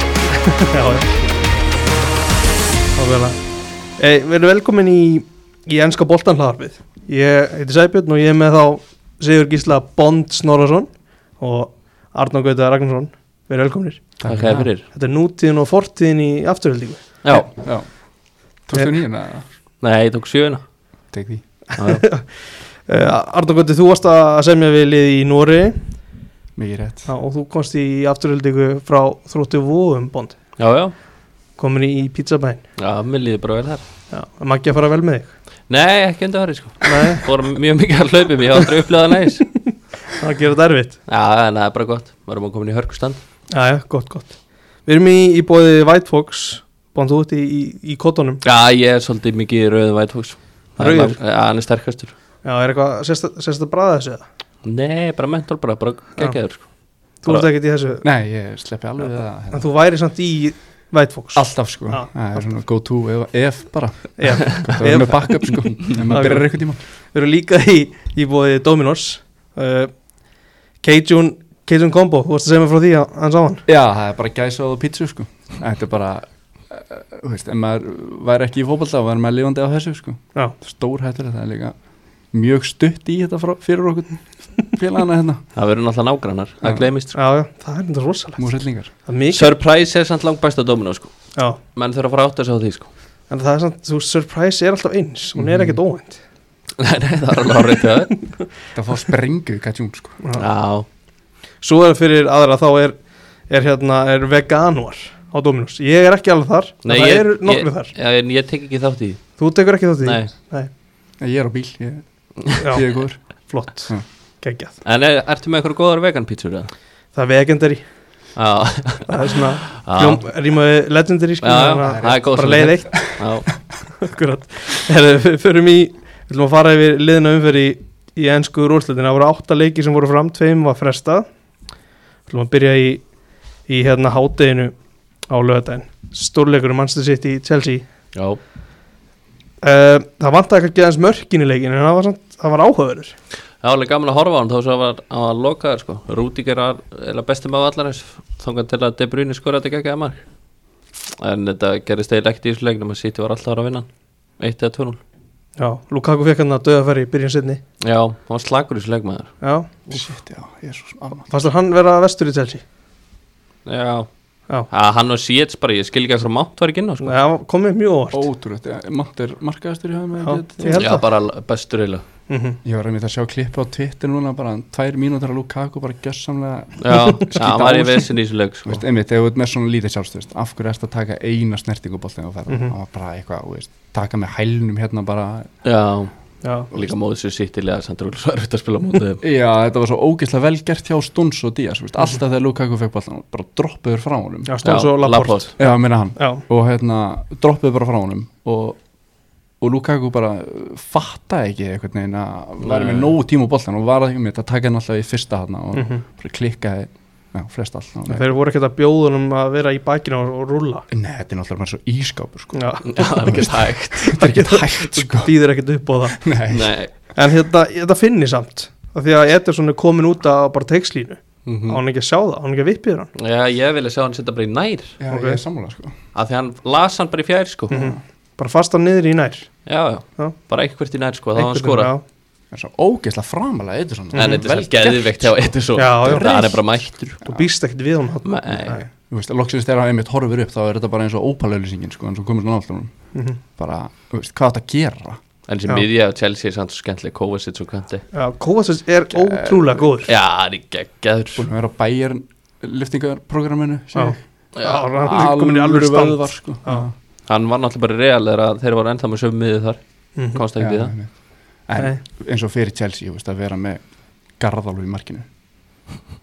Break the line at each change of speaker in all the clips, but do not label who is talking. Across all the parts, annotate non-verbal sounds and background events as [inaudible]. já, já. Ákveðlega. Hey, við erum velkomin í, í ennska boltanhlaðarfið. Ég heiti Sæbjörn og ég er með þá Sigur Gísla Bond Snorason og Arnó Gauta Ragnarsson. Við erum velkominir.
Takk hefði fyrir
Þetta er nútíðin og fortíðin í afturhaldingu.
Já,
Já Tókstu nýjuna?
nei, ég tók sjöuna
Tek því
Já,
Uh, Arnó Gauti, þú varst að semja við lið í Nóri
Mikið rétt
og þú komst í afturhaldingu frá þróttu vóðum Bond.
já, já,
Komin í, í pizzabæn.
já mér líður bara vel þar
Já, Maggi að fara vel með þig.
Nei, ekki undan hörri sko
Nei,
Fórum mjög mikið að hlaupum, ég hef aldrei upplegað næs Já,
það gerir þetta erfitt.
en það er bara gott, varum að koma í hörkustand
Jæja, gott, gott Við erum í, í bóði White Fox Bóðan þú út í, í, í kottunum
Já, ég er svolítið mikið í rauðum vætfóks
Rauður?
Já, hann er sterkastur
Já, er eitthvað, sérst að bræða þessu eða?
Nei, bara mental bara, bara geggjaður sko
Þú
Bara-
ert ekkert í þessu
Nei, ég sleppi alveg við það
En
hérna.
þú væri samt í White Fox
Alltaf sko
Já,
Það er svona go to ef, ef bara
Já,
Það er með backup sko Ef maður byrjar eitthvað tíma
Við erum líka í, í bóði Dominos uh, Cajun, Cajun Combo Þú varst að segja mig frá því að hann sá hann
Já, það er bara gæsað og pítsu sko Þetta er bara eh, Þú veist, ef maður væri ekki í fótballta væri maður lifandi á þessu sko
Já,
Stór hættur það er líka Mjög stutt í þetta frá, fyrir okkur Félagana hérna
Það verður náttúrulega nágrannar, það
Já.
gleymist sko.
já, já, það er þetta rosalegt
Múrhellingar
Það er mikið
Surprise er samt langt besta domino sko
Já,
Menn þurfa að fara átt að segja á því sko [laughs]
en það er samt, þú, surprise er alltaf eins Hún er ekkert óvænt
Nei, nei, það er alveg árið til það
Það fá sprengu kajún sko
Já.
Já,
Svo er fyrir aðra þá er, er hérna, er veganuar á Dominos Ég er ekki alveg þar, en
Nei,
það
ég-
eru nokkru
ég-
þar
Já, en ég tek ekki þátt í því
Þú tekur ekki þátt í því?
Nei,
Ég er á bíl, ég, ég
Já,
er góður
flott,
Já.
geggjað
en er, ertu með eitthvað góðar vegan pítsur eða?
Það er vegendari,
Já,
það er svona
Já.
hljóm, rýmaði legendary skilur,
Já, já,
þannig að
það er góð
Bara
svona.
leið eitt, [laughs]
já
akkurat Herðu, við förum í, við viljum að fara yfir liðina umferð í, í ennsku rúrslutin Það voru átta leiki sem voru fram, tveim var frestað Við viljum að byrja í, í hérna hátteginu á lögadaginn Stórleikur um Manchester City, Chelsea
Já,
Uh, það vantaði kannski aðeins mörkin í leikinu en það var, samt, það var áhugaverður
það var alveg gaman að horfa á hann þó sem hann var, hann var lokaður sko Rúdíker var eða bestum af allar hans þangað til að De Bruyne skoraði ekki ekki að mark en þetta gerist eiginlega ekkert í þessu leiknum að City var alltaf að fara að vinna hann. eitt eða 2-0
Já, Lukaku fekk hann að döðafæri í byrjun setni
Já, hann var slagur í þessu leikmaður
Já,
Shit, já, ég er svo smáma
fannst þér hann vera vestur í Chelsea
Já,
Já,
að hann og Sietz bara ég skil ekki að hvað mátt var ekki inn á sko
það komið mjög óvart
Ótrúlegt, ja, Matt er markaðastur í höfum
Já, ég held
Já,
það
bara l- bestur eiginlega
mm
Ég var að mynda að sjá klippu á Twitter núna bara tvær mínútur að Lukaku bara gjössamlega
[laughs] Já, já,
á
hann var í
sig.
vesin í þessu leik
Þú
sko
veist, einmitt, þegar þú ert með svona lítið sjálfstöðust af hverju ertu að taka eina snertinguboltin og ferða mm
Mhm.
-hmm. og bara eitthvað, þú veist, taka með hælnum hérna bara
Já,
Já,
líka móðið sér sitt í lega sem trúlega svo erfitt að spila mótið þeim
Já, þetta var svo ógeðslega vel gert hjá Stuns og Díaz, þú veist, alltaf þegar Lukaku fekk boltin bara droppuður frá honum
Mhm. já stóð svo Laporte
Já, ég meina hann
Já,
og hérna, droppuður bara frá honum og, og Lukaku bara uh, fattaði ekki einhvern veginn að væri
Nei.
með nógu tíma boltin og var ekki með að taka hann alltaf í fyrsta hana og
mhm.
bara klikkaði já, flest allt
En
Nei,
þeir voru ekkert að bjóða honum að vera í bakinu og, og rúlla
Nei, þetta er náttúrulega bara svo ískápur sko.
[laughs] Já,
Já, það er ekki hægt
Þetta er ekki
[laughs]
hægt sko.
býður ekkert upp á það
Nei.
Nei
En hérna, þetta finni samt af Því að Ederson er komin út af bara teikslínu mm. Á hann ekki að sjá það, á hann ekki að vippiður hann
Já, ég vilja sjá hann setja bara í nær
Já,
Ok.
ég er sammála sko.
að því hann las hann bara í fjær sko
Mhm. Bara fasta niður í nær
já, já,
Já.
bara eitthvert í nær sko þá var hann
Einhvern
skora
veginn,
Það er svo ógeðslega framalega eitthvað svona
en þetta er svo geðvikt hjá þetta svo
Já, já.
það hann er bara mættur
já, Þú býst ekkert við hann
Nei.
Þú veist, loksins þegar hann einmitt horfir upp þá er þetta bara eins og ópalauðlýsingin sko, en svo komur svona náttúrulega
Mhm.
bara, þú veist, hvað átt að gera
en sem
Já.
miðja á Chelsea er samt svo skemmtileg Kovacic og Kante
Já, Kovacic er ótrúlega góður
já, hann er geggjaður
búin að vera á bæjar lyftingarprogramminu
Já,
Já.
hann er komin í alvöru stand
vöðvar sko.
Já.
hann var náttúrulega bara real þegar þeir voru ennþá með sömu miðið þar
Mhm.
komst ekki
Já,
við það
einmitt. en
Nei.
eins og fyrir Chelsea, þú veist, að vera með garðalú í markinu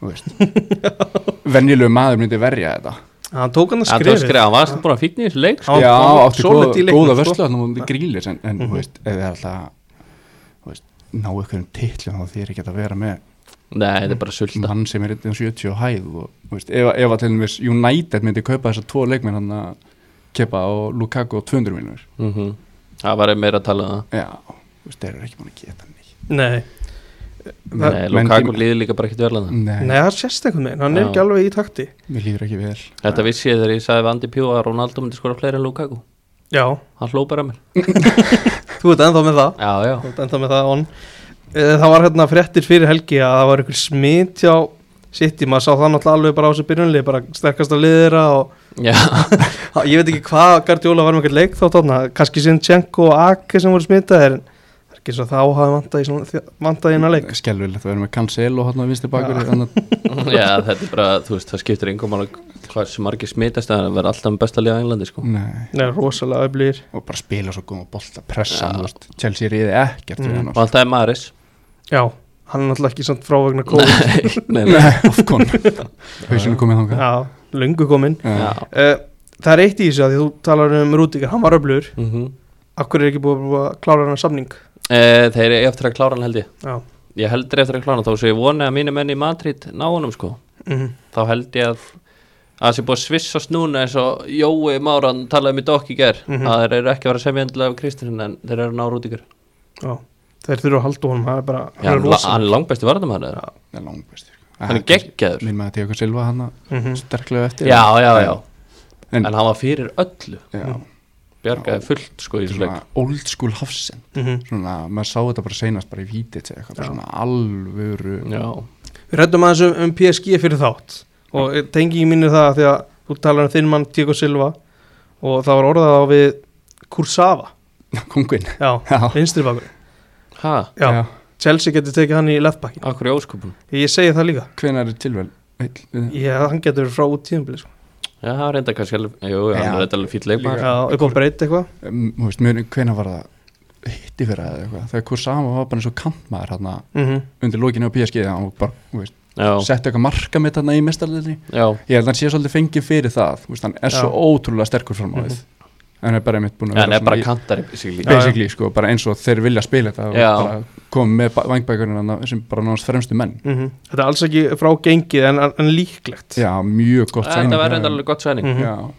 Þú
[laughs]
veist venjulegu maður myndi verja þetta
Hann tók hann að
hann tók
skrifa
skrifa, hann var samt búin að fíkni í þessu leik sko.
Já,
Já,
hann var
átti
solid
góða,
í leiknum,
góða
sko. Mhm.
vörslu þannig að hún grílis en, en þú veist, ef það er alltaf þú veist, ná ykkur um titlu þá þýr ekki að vera með
nei, þetta er bara sulta
mann sem er 170 og hæð og þú veist, ef, ef að til dæmis United myndi kaupa þessar tvo leikminn hann að kepa og Lukaku og 200 miljonur
Mhm. það var meira að tala um það
Já, þú veist, þeir eru ekki búin að geta neitt
Nei Það-
Nei,
Mendy-
Lukaku líður líka bara ekkert vel að það
Nei,
Nei,
það sést einhvern veginn, hann er
Já.
ekki alveg í takti
mér líður ekki vel
Þetta vissi ég þegar ég sagði við Andy Pjú að Ronaldo myndi skora fleiri en Lukaku
Já,
Hann hló bara að mér
þú ert ennþá með það
Já, já,
Þú ert ennþá með það on Eh, Það var hérna fréttir fyrir helgi að það var einhver smit hjá City, maður sá það náttúrulega alveg bara á þessu byrjunlið, bara sterkasta liðira og
já. [laughs]
Ha, Ég veit ekki hvað Gardiola var með einhvern leik þá þarna, kannski Sinchenko og Ake sem voru smitaðir en það er ekki svo að þá hafi vantað í svona- þjá- vantað í hennar leik
Skelvilegt, við erum með Cancelo hann á vinstri bakur
Já.
[laughs] já þetta er bara, þú veist, það skiptir engum alveg hvað sem margir smitast að það verður alltaf með besta liða á Englandi, sko
Nei,
Nei, rosalega öflýr
og bara spila svo góðum og bolta pressa,
Já.
þú veist, Chelsea reyði
Mm.
ekkert við hann
Og alltaf er Maris
Já, hann er náttúrulega ekki samt frávegna kóð
[laughs] Nei, nei.
Nei, of kon
[laughs]
Hausinu komið þangað
Já, löngu kominn
Já.
Já.
uh, Það er eitt í þessu að því þú talar um Rúdíkar, hann var öflýr
Mm
Akkur er ekki búið að- búið að klára hann samning
Eh, Þeir eru eftir að klára hann held ég
Já,
Ég heldur eftir að klára hann, þá svo ég voni að mínu menn í Madrid ná honum, sko
mm.
Þá held ég að að það sé búið að svissast núna eins og Jói Máran talaði um í dokk í ger
Mhm.
að þeir eru ekki að vera semja endilega af Kristinsen en þeir eru náður út ykkur
Já. Þeir þurfa að halda honum, það er bara
Já,
hann er
la-
rosalega
hann er langbæsti varðamæður
Það er langbæstur
Hann er geggjaður Mm.
Minn maður Tíokur Silva hann
Mhm.
sterklega eftir
Já, já, já, Mm.
En-
en hann var fyrir öllu
Já,
Bjargaði fullt, sko, í þessu leik
svona old school hafsend
Mhm.
svona, maður sá þetta bara seinast bara í vítið eða eitthvað,
Já.
svona alvöru
Já,
Við rættum aðeins um, um PSG fyrir þátt og tengi mín er það að því að þú talar um þinn mann Tíko Silva og það var orðað á við Kursava,
kongin
já,
Já.
vinstri bakur
hæ,
já. Chelsea getur tekið hann í leftbakkin
akkur í ósköpun
ég segi það líka,
hvenær er tilvel Heill-
ég, hann getur verið frá út tíðanbili sko.
Já, það reynda kannski alveg, jú, jú, hann
Já.
er reynda alveg fýll leikmaður
já, upp á breyt eitthvað
Um, þú veist, mjög hvenær var það hitti fyrir það eitthvað þegar Kursama var bara eins og kampmaður hann
mm
undir lókinu á PSG hann var bara, þú veist,
Já,
setti eitthvað marka mitt hann í mestarleili
já,
ég held að hann sé svolítið fengið fyrir það þú veist, hann er
Já. Mhm.
svo ótrúlega sterkur fram á við hann er bara einmitt búin að
Já, hann er bara
í-
kantari, basically
Já.
basically, sko, bara eins og þeir vilja spila þetta og
Já.
bara komið með vangbækurinn sem bara náðast fremstu menn
þetta er alls ekki frá gengið en, en líklegt
mhm. Já, mjög gott
Eh, Þetta var reynda alveg gott sæning
Mhm.
Já,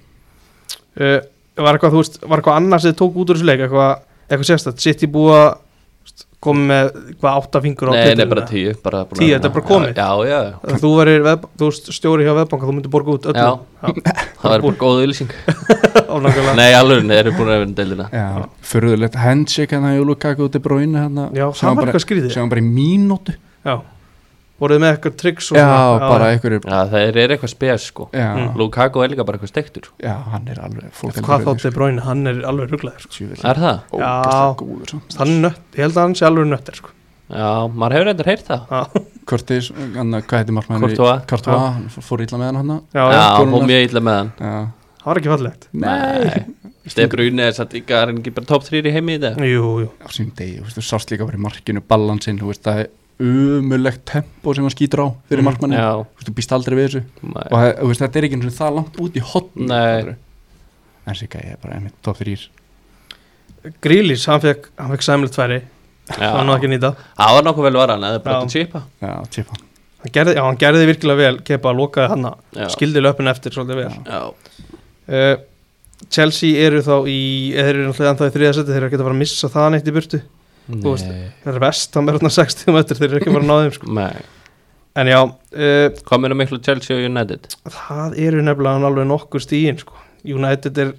uh, var eitthvað, þú veist, var eitthvað annars þið tók út úr þessu leik, eitthvað, eitthvað sérstætt City búið að komið með hvað átta fingur á
Nei, nei,
titlinum,
bara tíu bara búin að-
Tíu, þetta er bara komið.
Já, já, já.
Ef Þú verir veðb- þú veist, stjóri hjá veðbanka, þú myndir borga út
já,
öllum
það var bara góð ylýsing
ánákvæmlega
Nei, alveg, þeir eru búin að vera deildina
já, fyrðulegt handshake hérna hann að Júlukaku út í bróinu hann
Já, það var eitthvað skrýðið
sem hann bara í mínútu
Já, voruð þið með eitthvað tricks og
Já,
svona?
bara einhverju
Já, þeir eru eitthvað spes, sko
já,
Mm.
Lukaku er líka bara eitthvað steiktur
já, hann er alveg fólk
Hvað þá De Bruyne, hann er alveg rugglaður sko.
Er það?
Já. Hann er nött, ég held að hann sé alveg nöttir sko.
Já, maður hefur reynda heyrt það
Já,
Kortis, hann, hvað heitir markmann
Courtois.
Kortua, hann fór- fór illa með hann hann
já,
Já,
já,
hún
konunnar.
mjög illa með hann
Já,
það var ekki fallegt
Nei, Stef Bruni er satt ekki að reyngi bara top 3 í heimi í dag
Jú, jú,
á sínum degi, þú veist, þú sást líka bara í markinu balansin, þú veist, það er umulegt tempo sem hann skýtur á fyrir
Mm.
markmanni
Já,
þú veist, þú býst aldrei við þessu
nei.
og það- þú veist, þetta er ekki eins og það langt út í hotn
Nei.
en sér gæði, ég er bara einmitt top 3
Grílis, hann fekk, hann fekk sæmilegt færi
Já.
Það var nú ekki að nýta
Það var nokkuð vel varan, það er bara
Já.
að chipa
Já, típa
hann gerði, Já, hann gerði virkilega vel, kepa að lokaði hann
Já.
Skildi löpun eftir svolítið vel
Já,
uh, Chelsea eru þá í, eða þeir eru náttúrulega ennþá í þriðasetti Þeir eru ekki að fara að missa það neitt í burtu Þú veist-
Nei.
Það er vest, hann er hann 60 metr, þeir eru ekki að fara að náðum sko.
Nei.
En já, uh,
Kominu miklu Chelsea og United
Það eru nefnilega alveg nokkur stíin sko. United er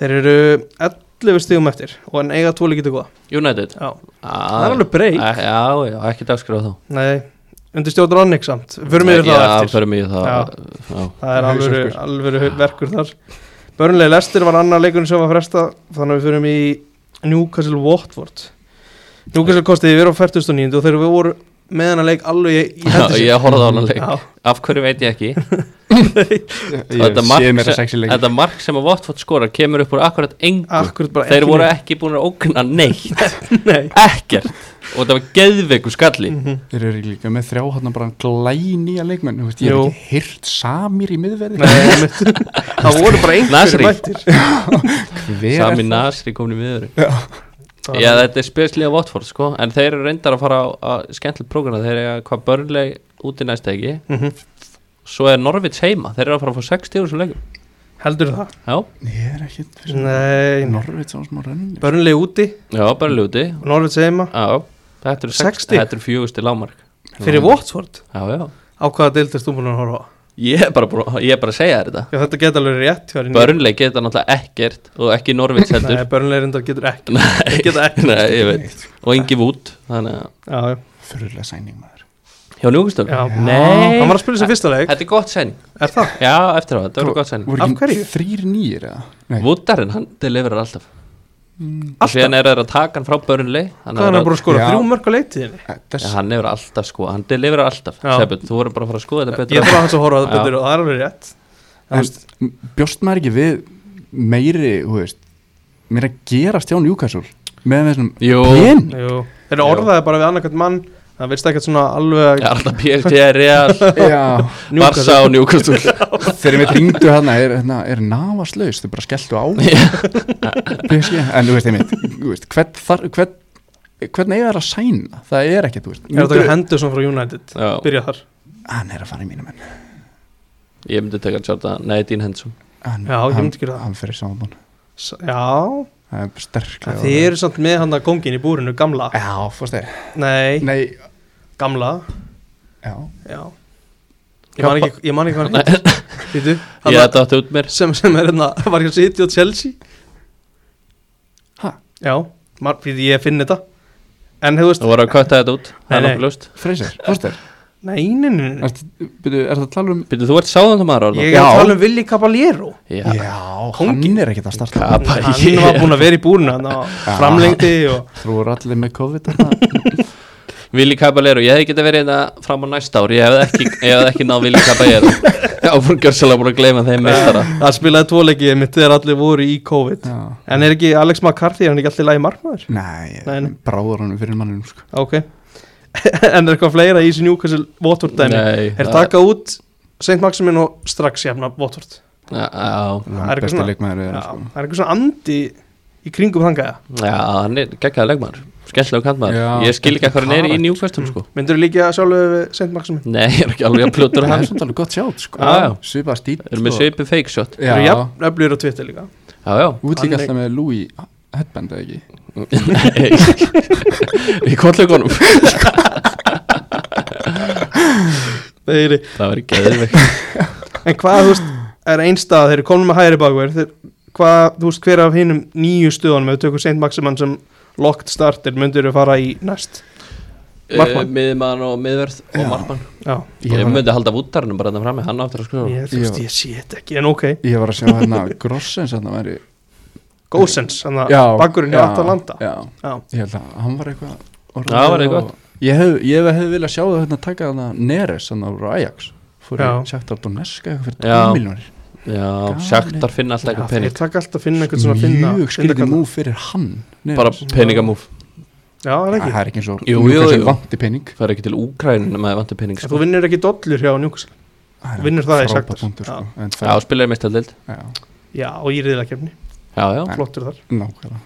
þeir eru 11 stígum eftir og en eiga tvo líkið til góða
United
Já.
Það
Það er alveg breyk
Já, já, ekki dagskráð þá
Nei, undir stjórn Rannig samt Förum við
Nei,
það
já,
eftir
förum við það
Já.
já.
Það er alvöru,
Hausverkur.
alvöru verkur þar Börnlega Lester var annar leikurinn sem var fresta þannig að við förum í Newcastle Watford Newcastle kostiði við á 49 og þegar við voru með hennar leik alveg í- í
Já,
hendi sér.
ég horfði á þennan leik.
Já,
Af hverju veit ég ekki
[laughs]
Ég
mark
sé mér
sem-
að sexi leik
Þetta mark sem að Watford skorar kemur upp úr akkurat engu
akkurat bara
Þeir
ekki
voru
neitt.
ekki búin að ógna neitt
Nei.
Ekkert Og það var geðveiku skalli
Mhm.
Þeir eru líka með þrjá hann bara glænýja leikmenn þú veist, Ég
Jú.
hef ekki hýrt samir í
[laughs]
miðverði
[laughs] Nei, einmitt. Það voru bara
Nasri.
einhverjum mættir
Hver er
Sami
það?
Nasri komin í miður
Það-
Já, þetta er speslega Watford sko En þeir eru reyndar að fara á, á skemmtilegt prógrana Þeir eru hvað börnleg út í næsta ekki
Mhm.
Svo er Norvits heima Þeir eru að fara að fá 60 úr sem leikum
Heldur það?
Já,
Ég er ekki
Nei,
Norvits á smá rönni
börnlega úti,
já, bara ljóti
Norvits heima
Já, Þetta eru
Sex
60
stig?
Þetta eru fjögusti lámark
Fyrir Watford,
Já, já
á hvaða deildist þú búin að horfa á?
Ég er bara, búinn- ég er bara að segja þér þetta
Já, þetta geta alveg rétt hjá henni.
Börnleg geta náttúrulega ekkert og ekki Norvits heldur
Nei, Burnley reyndar getur ekki
Nei,
geta ekkert.
nei, ég veit Og engi vút Þannig að
Já, já.
Fyrirlega sæning maður
Hjá Newcastle
Já.
Nei
Hann var að spila sér fyrsta leik,
Þetta er gott sæn
er það?
Já, eftir á, þetta verður gott sæn
Voru
Af
ekki
hverju?
Þrýr nýjir eða? Nei,
Vútarinn, hann deliverar alltaf Alltaf
Alltaf,
Síðan er það að taka hann frá börnleg
hvað er hann búin að skora?
Já.
Þrjú mörg á leiktíðinni?
Já,
þess
hann hefur alltaf sko, hann deliverar alltaf
Já.
Sæbjörn, þú voru bara að fara að skoða þetta betur
Ég þarf að hans að horfa á það
Já.
betur og það er alveg rétt
En bjóst maður ekki við meiri, þú veist meira að gerast hjá Newcastle með þessum
Jú.
pen
Jú, þeir orðaði bara við annarkvæmt mann Það veist ekkert svona alveg
Já, alltaf PSG, Real,
Já,
Newcastle.
E Barca og Newcastle
þegar við ringdu hann er, hérna, er návaslaus, þau bara skelltu á PSG, en þú veist einmitt þú veist, hvern, þar, hvern, hvern eiga þær að sæna, það er ekkert þú veist,
Er þetta Henderson frá United?
Já.
Byrja þar
hann er að fara í mínum menn
Ég myndi taka Jordan, nei, Dean Henson
hann,
Já, ég myndi gera það.
hann, hann fyrir saman
S- Já,
það er
en
sterklega
þið eru samt með hann að kongin í búrinu, gamla
já, fórst þeir
Nei,
nei,
gamla
já,
Já Ég man ekki, ég man ekki hvað
[laughs]
hann heitir. Býtu, hann
Ég
heitir
þetta átti út mér
sem, sem er hérna, var ekki að sitja á Chelsea
Ha?
Já, mar, fyrir ég finn þetta En þú veist,
Þú voru að kötta þetta út,
Nei,
það er
nei.
nokkuð ljóst
freysir, fórst þeir
nei, nei, nei, nei.
er það að tala um
Býttu, þú ert sáðan það maður orðan
Ég er að
Já.
tala um Willi Caballero
já,
Já,
hann er ekkert að starta
Kap- Bara
Hann
ég-
var búin að vera í búrinu, hann á
Já.
framlengdi og
þú eru allir með COVID
[laughs]
þarna.
Vili Caballero, ég hefði geta verið þetta fram á næsta ár Ég hefði ekki, ég hefði ekki náð Vili
[laughs]
Caballero Já, fór gjörsalega búin að gleyma þeim meistara
Það spilaði tvoleikið mitt þegar allir voru í COVID
já,
En er ekki Alex McCarthy, er hann ekki allir lagi markmaður?
nei,
Nei, nei.
bráður hann fyrir mannum sko.
Ok [laughs] En er eitthvað fleira í þessu Newcastle Watford dæmi?
Nei,
Er
það-
taka út St. Maximin og strax jafna Watford
Já, já,
Það er eitthvað
besti
svona-
leikmaður
Já,
er, sko.
Það er eitthvað svona andi í kringum þangaða
já, hann er geggjaða legmaður Skemmtilega
Já,
kantmaður, ég skil ekki að hvað hann er í
karakter.
Newcastle sko
Myndur þú líka sjálfur við St. Maximin?
Nei, ég er ekki alveg að
[laughs]
pljótur
það
hann
er svona alveg gott sjátt sko.
Já, já.
svipað stíl
Erum við
sko.
svipið fake shot
Já
Já,
Eru jafn, öflýr og tvittir líka
Já, já
þú ert líka
Hann er-
alltaf með Louis headband eða ekki
Nei [laughs] Í kollökunum
Þeir eru
Það var ekki eðvig
En hvað, þú veist, er einn stað, þeir eru komin með hægri bakverð, þeir, hvað, þú veist, hver af hinnum nýju stöðunum, ef við tökum Saint Maximan sem locked starter, myndir þú fara í næst? Markmann.
Miðmann Eh, og miðverð
Já.
og markmann
Já,
Ég
var,
myndi halda vútarnum bara þannig frammi Hann áttur að skrifa
ég, þú veist,
Já.
ég sé þetta ekki, en ok,
ég var að sjá hérna Grossens hann væri
góðsens, þannig
Já,
að bakverðin er
já,
alltaf að landa.
já,
Já,
ég held að hann var eitthvað orðið
Já, hann var eitthvað
og- ég hef, ég hef viljað sjá það hérna taka hann að Neres hann úr Ajax fór
Já.
í sagt að Doneska eitthvað fyrir
Já.
2 miljónir
Já,
Gaman.
Shakhtar finna alltaf
já
eitthvað
þeir
pening
taka alltaf að finna einhvern svona að finna.
mjög
finna
skrítið
kalla.
mú fyrir hann Neres.
Bara peningamúf
Já, það er
Æ, það
ekki.
er ekki eins og
Jú, jú, jú.
Newcastle vanti pening
Það er ekki til Úkrænum nema þið vantur pening
En
sko.
Þú vinnur ekki dollur hjá Newcastle.
Það er
Vinnur það í
frábær
Shakhtar.
punktur, sko. En
Já,
það-
spilaði mistaldeild
já,
Já, og í riðlakefni,
Já, já,
Nei.
flottur þar.
nákvæmlega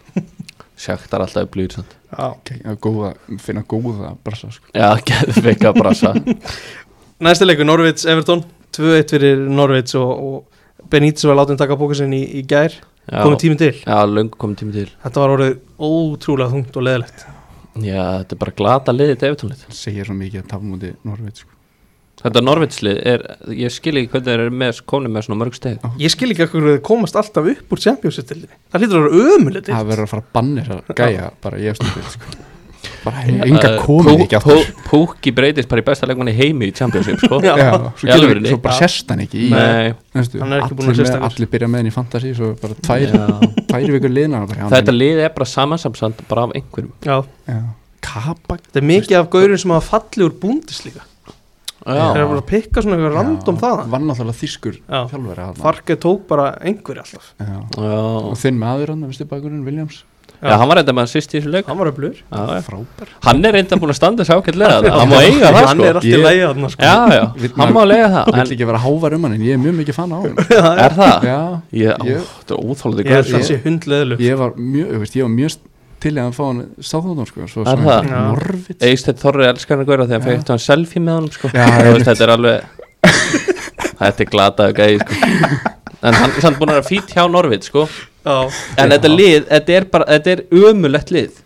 Shakhtar alltaf upplýður sant
Já.
Ok, að góða, finna góða brasa sko.
Já, [laughs] geðveika brasa
Næsta leikur, Norvids, Everton, 2-1 fyrir Norvids og, og Benítez var látið að taka bókusinn í, í gær, komið
Já,
tíminn til.
já löngu komið tími til
Þetta var orðið ótrúlega þungt og leðilegt
Já, þetta er bara glata liðið til Evertónlið
segir svo mikið að tafa múti Norveit sko.
Þetta Norvitslið er, ég skil ekki hvernig þeir eru með, komin með svona mörg steg
Ég skil ekki hvað þau komast alltaf upp úr Champions-tildinni Það hlýtur að vera ömulegt
það verður að fara að banni þessar gæja bara ég stundið sko. bara
Eh,
enga komið
Pú-
ekki aftur
Pú- Púki breytist bara í besta leikmann í heimi í Championship sko
[laughs] Já.
Já,
Í
svo, getur,
alvörunni?
svo bara
Já.
sérst hann ekki í eh,
Nei,
Veistu,
Hann er ekki búinn að
allir,
sérst
með,
hann.
allir byrja með henni í fantasi svo bara tvær,
já.
[laughs] tvær vikur liðna bara, já,
Þetta
hann-
lið er bara samansamsand bara af einhverjum
Já,
já, kapa
þetta er mikið af gaurin sem hafa fallið úr búndis líka
Já,
Þeir eru bara að pikka svona eitthvað random þaðan
var náttúrulega þýskur
Já.
þjálfari þarna.
Farke tók bara einhverja alltaf
Já.
já.
og þinn maður hann viðstu bakurinn Williams
já hann var reynda með að sýst í þessu leik
Hann var öflur
já, já.
frábær
Hann er reynda búin að standa þessu ákveðlega Hann má eiga það
Hann
sko
er alltaf í
Ég-
lægja þarna sko [laughs]
Já, já,
Vill
hann má
maður-
lega það
vill
En
ekki vera hávar um hann en ég er mjög mikið fann á hann
[laughs]
er það?
já,
Ég, ó,
Ég-
þetta er sko. óþólandi
Ég held
gauð
það sé hundleðilug
ég var mjög, þú veist, ég var mjög til í að fá hann sáþóðan sko, svo,
Er það?
Já.
morfitt
Eistett Þorri elskar hann að gauða þegar
Já.
fekkt hann selfie með honum sko.
Já,
Þú
einmitt.
veist, þetta er alveg þetta er glataðu gæði sko. en hann er samt búin að vera fít hjá Norvit sko.
Já,
en þetta lið, þetta er, bara, þetta er ömulegt lið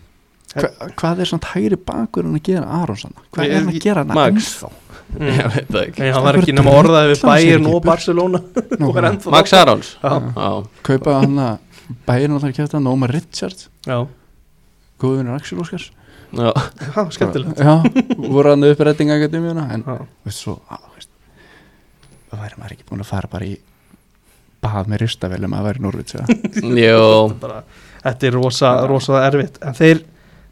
Hva, hvað er svona hægri bakur hann að gera Aronssona? Hvað er hann að gera hann
Max.
ennþá?
Mm.
ég veit það ekki
Nei, hann var ekki nema orðað við
Hann sé
Bayern
ekki
og
burt.
Barcelona
Nú,
og er ennþá
Max Arons
Já.
Já,
kaupa hann að bærin og þar kæfti hann Ómar Richards,
Já,
góðvinur Axel Óskars
já,
Já, skemmtilegt
Já, voru hann upprætting akademíuna en
Já.
veist svo á, veist, það væri maður ekki búin að fara bara í bað með ristavel um að væri Norvits eða?
Jó,
bara, Þetta er rosa, rosa erfitt En þeir,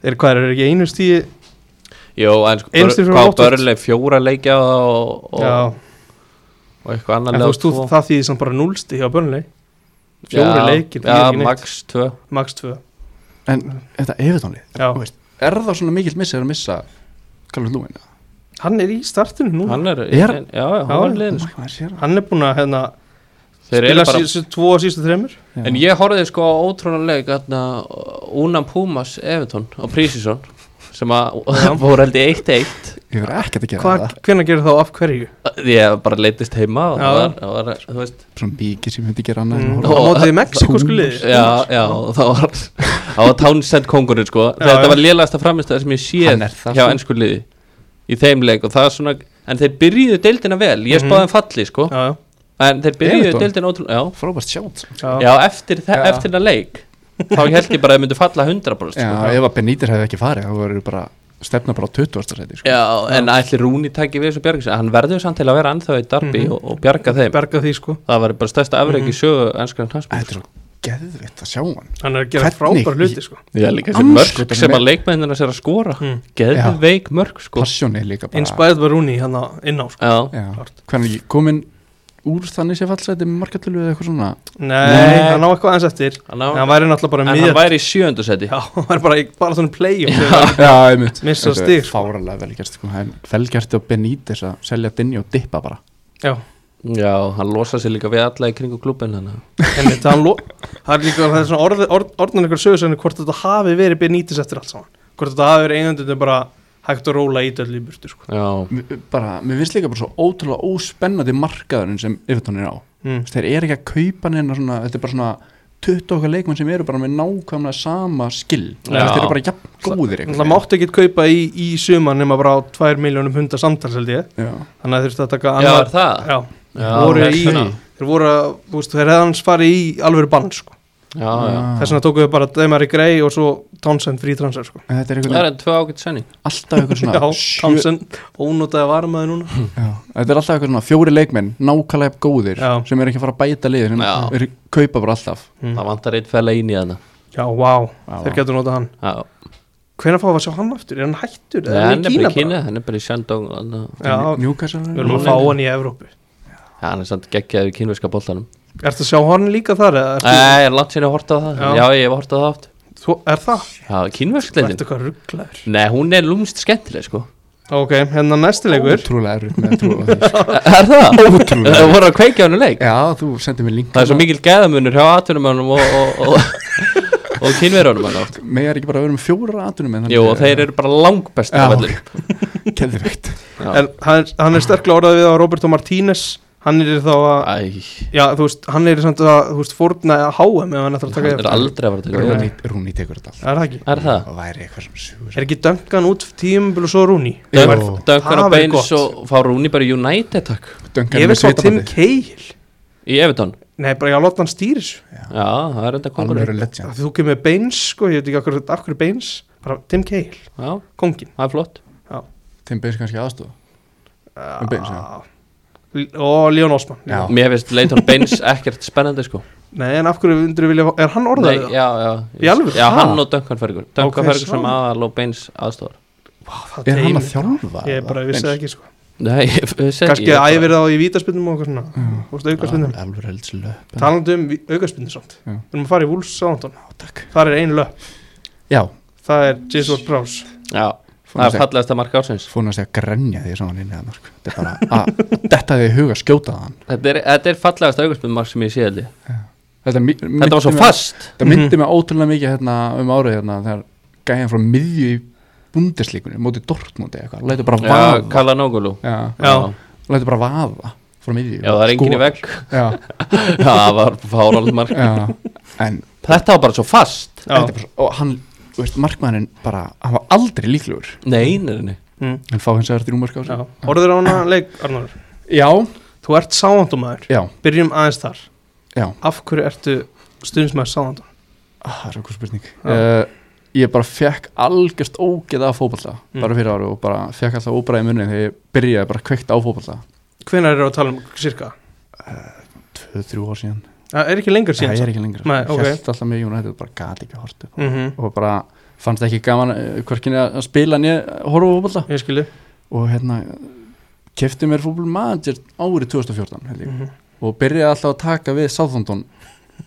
þeir hvað eru ekki einu stíði
Jó, en sko,
Einu
bör,
sinni fyrir
hvað
Watford.
börnleg fjóra leikja og,
Já,
og, og eitthvað
en
annar
þú veist, þú- það þýðir sem bara núlsti hjá Burnley Fjóri leikir,
Já,
þýðir ekki neitt
max 2
Max 2
en þetta efitónlið,
Já,
er það svona mikill missið að missa Kallur Lúin?
hann er í startinu nú Hann,
Hann er,
Er-
en- já, já, hann var liðin sko.
Sko.
er búin að hérna,
Þeir
spila
eru bara
sí, tvo og sístu þreymur
En ég horfði sko á ótrúna leik þarna, Unam Pumas Everton og Prísison sem að voru held í 1-1
ég verði ekkert að gera
Hva,
það
Hvernig gerir það og af hverju?
ég bara leittist heima og það
Já.
var, það var, þú veist
svona mikið sem myndi gera annað en
Mm,
horfa.
á
Og-
mótið Mexikosku liði
Já, já, og það var það var Townsend kongurinn sko
Já,
þetta
já.
var lélagasta framistæða sem ég séð
Hann er það,
hjá
sko.
ennsku liði í þeim leik og það er svona en þeir byrjuðu deildina vel, ég
Mhm.
spáði þeim falli sko
Já, já,
en þeir byrjuðu
Everton?
deildina ótrúlega já,
frábært sjátt sko.
já.
já eftir, þe-
Já.
eftir það leik þá held ég bara að þeir myndu falla 100%
Já,
sko.
ef að Benítez hefði ekki farið þá voru bara stefna bara á 20. seti sko.
já, en ætli Rúni takki við þessu bjargis hann verður samt til að vera ennþá í darbi
Mhm.
og, og bjarga þeim
Berga því sko
það var bara stærsta afreik í
Mhm.
sögu ennskar hans
Þetta er svo geðvitt að sjá hann
Hann er að gera
Hvernig?
frábær hluti sko
Já, líka þessi
Andskotanum
mörg sem
er-
að leikmennina sér að skora
Mm.
geðveik mörg sko
Passjóni líka bara
Inspired by Rooney hérna inn á sko
Já,
Já.
Klárt.
Hvernig komin úr þannig sé fallseti með margatölu eða eitthvað
[laughs]
svona
Nei,
Nei.
hann á eitthvað aðeins eftir
hann á,
En hann væri náttúrulega bara
en
miðjart
hann væri í sjöndu seti
Já, hann væri bara, í- bara þannig play
Já, einmitt
Missa
Þetta er
stig, sko.
Fáralega velgjast sko. Það er Velgjast og Benítez að selja dinni og dippa bara
Já,
Já, hann losa sér líka við alla í kringu klubin hann
en þetta hann lo- Það er líka, það er svona orð, orð, orðan ykkur sögursögnu hvort þetta hafi verið Benítez eftir allt saman Hvort þetta hafi verið einandundum bara hægt að róla í döllu í burtu sko
Já,
M- bara, Mér finnst líka bara svo ótrúlega óspennandi markaðurinn sem Evertón er á
mm.
Þú veist, Þeir eru ekki að kaupa neina svona Þetta er bara svona 20 okkar leikmenn sem eru bara með nákvæmlega sama skill Þú
Já.
veist, Þeir eru bara jafn góðir einhvern
Það máttu ekkit kaupa í, í suman nema bara á 2 miljónum hunda samtals held ég
veginn. Já.
Þannig að þurfti að taka
já
annar
er það?
Já,
Já,
voru
þess
í,
vegna.
þeir voru að, þú veist, þeir hefðans farið í alvöru bann sko
Já, já
Þess vegna tókuðu bara Demari Gray og svo Townsend frí transfer sko
En Þetta er
Það
einhvern
er enn tvö ágætt senning
veginn alltaf einhvern
Já,
svona sjö-
Townsend, ónótaði varmaði núna
Já, þetta er alltaf eitthvað svona fjóri leikmenn nákvæmlega góðir
Já.
sem er ekki að fara að bæta liðin
Já.
sem er kaupa bara alltaf
Það vantar eitt fæla inn í þarna
Mm. Já, vá,
Já,
þeir
vá.
getur notað hann
Já,
Hvenær fáum við að sjá hann aftur? Er hann hættur?
Nei,
Er
hann er bara í
bara?
Kína, hann er bara í Shandong þarna.
Já,
Newcastle
við erum að fá hann í Evrópu
Já, hann er samt geggjaður í kínverska boltanum
Ertu að sjá hann líka þar? eða
Æ,
Ertu,
ég er langt sinni að horta á það
Já.
Já, ég hef horta á það oft
þú, er það?
Já, kínversk
Þú
leitin
ert eitthvað rugglaður
Nei, hún er lúmst skemmtileg sko
Ok, hérna næsti leikur
ótrúlega erfitt með að
[laughs]
trúa því sko.
Er það?
Ótrúlega.
Það voru að kveikja hann um leik
Já, þú sendir mér link hérna.
Það er svo mikil gæðamunur hjá atvinnumannum og, og, og, og kínverunum hann oft
Megar ekki bara að vera með fjóra atunum en
Jú, og þeir eru bara langbest
Já,
á vellinu
[laughs]
[laughs]
Geðveikt
Já.
En hann, hann er sterklega orðað við á Roberto Martínez Hann er þá að
Æ,
Já, þú veist, hann er samt að, þú veist, fórna að HM ef hann ætlar að
hann
taka
er
eftir
aldrei að fara að taka
Nei.
við
Rúni, Rúni tekur þetta alltaf
Er það ekki?
Er það?
Það væri eitthvað sem sugur
Er ekki Duncan út tíumbil og svo Rúni?
Jú.
Dunk- Duncan
Það
og
væri
Baines
gott.
og fá Rúni bara í United takk
sko. Duncan
Ég
er með
veist að Tim
tvítabandi.
Cahill
Í Everton
Nei, bara ég að láta hann stýris
Já, það er enda kongur
Alvöru
Af
legend
því Þú kemur með Baines, sko, ég veit ekki akkur, akkur Baines Bara Tim Cahill,
Já,
kongin
það er flott
Tim Baines kannski aðstoð En Baines, já.
L- Og Leon Osman
Já.
Mér finnst Leighton Baines ekkert spennandi sko
Nei, en af hverju myndir vilja Er hann
Nei,
orðaðið?
já, já
Í alvöru?
Já,
Ha?
hann og Duncan Ferguson Duncan
Ok,
Ferguson
svona.
aðal og Baines aðstofar
það
Er hann að
teymið.
þjálfa?
Ég bara vissi það ekki, sko
Nei, ég segi
Kanski æfir þá í vítaspinnum og eitthvað svona
Já.
Þú veist, aukaspinnum
sko. Alvöru held slöp
Talandi um aukaspinnum samt
Já.
Við erum að fara í Wolves Southampton
Takk
Það er ein löp
Já,
Það er Jesus Prowse
Já, það
fór
er fallegasta mark ársins
fór næst að grenja því að sá hann inn eða mörg þetta er bara [laughs] að detta því í hug að skjóta hann
Þetta er, þetta er fallegasta augustmynd mark sem ég sé held ég
þetta, mi-
Þetta var svo
myndi mig-
fast Mhm.
þetta myndi mig ótrúlega mikið hérna, um árið hérna, þegar gæjan frá miðju í bundeslíkunni mótið Dortmundi eitthvað lætur bara
Já,
vaða
Kalla Nógulu
já,
Já.
lætur bara vaða frá miðju
Já, það er engin í
Skorar.
vegg
já,
[laughs] Já, það var fárald mark
já. en
[laughs] Þetta var bara svo fast
Já,
þetta er bara, svo- og hann þú veist, markmannin bara, hann var aldrei líklegur
Nei, nei, nei
mm.
en fá hins vegar þrjúmark á
já.
sig
Orður á hana leik, Arnur
já,
Þú ert sáhandumæður,
já,
byrjum aðeins þar
já,
Af hverju ertu stuðnismæður sáhandum?
ah, það er okkur spurning
Já.
uh, ég bara fekk algjörst ógeða af fótballa,
Mm.
bara fyrir ári og bara fekk alltaf óbræði munni þegar ég byrjaði bara kveikt á fótballa,
Hvenær eru að tala um cirka?
tvö, þrjú ár síðan
Það Ah, er ekki lengur
það
síðan
er ekki lengur,
Nei, ok.
held alltaf mig United bara gati ekki að horta
mm
og bara fannst ekki gaman eh, hvorkinni að að spila nýja horfa á fótballa
Ég skilji
og hérna kefti mér fútbol manager árið 2014 held ég
mm
og byrjaði alltaf að taka við Southampton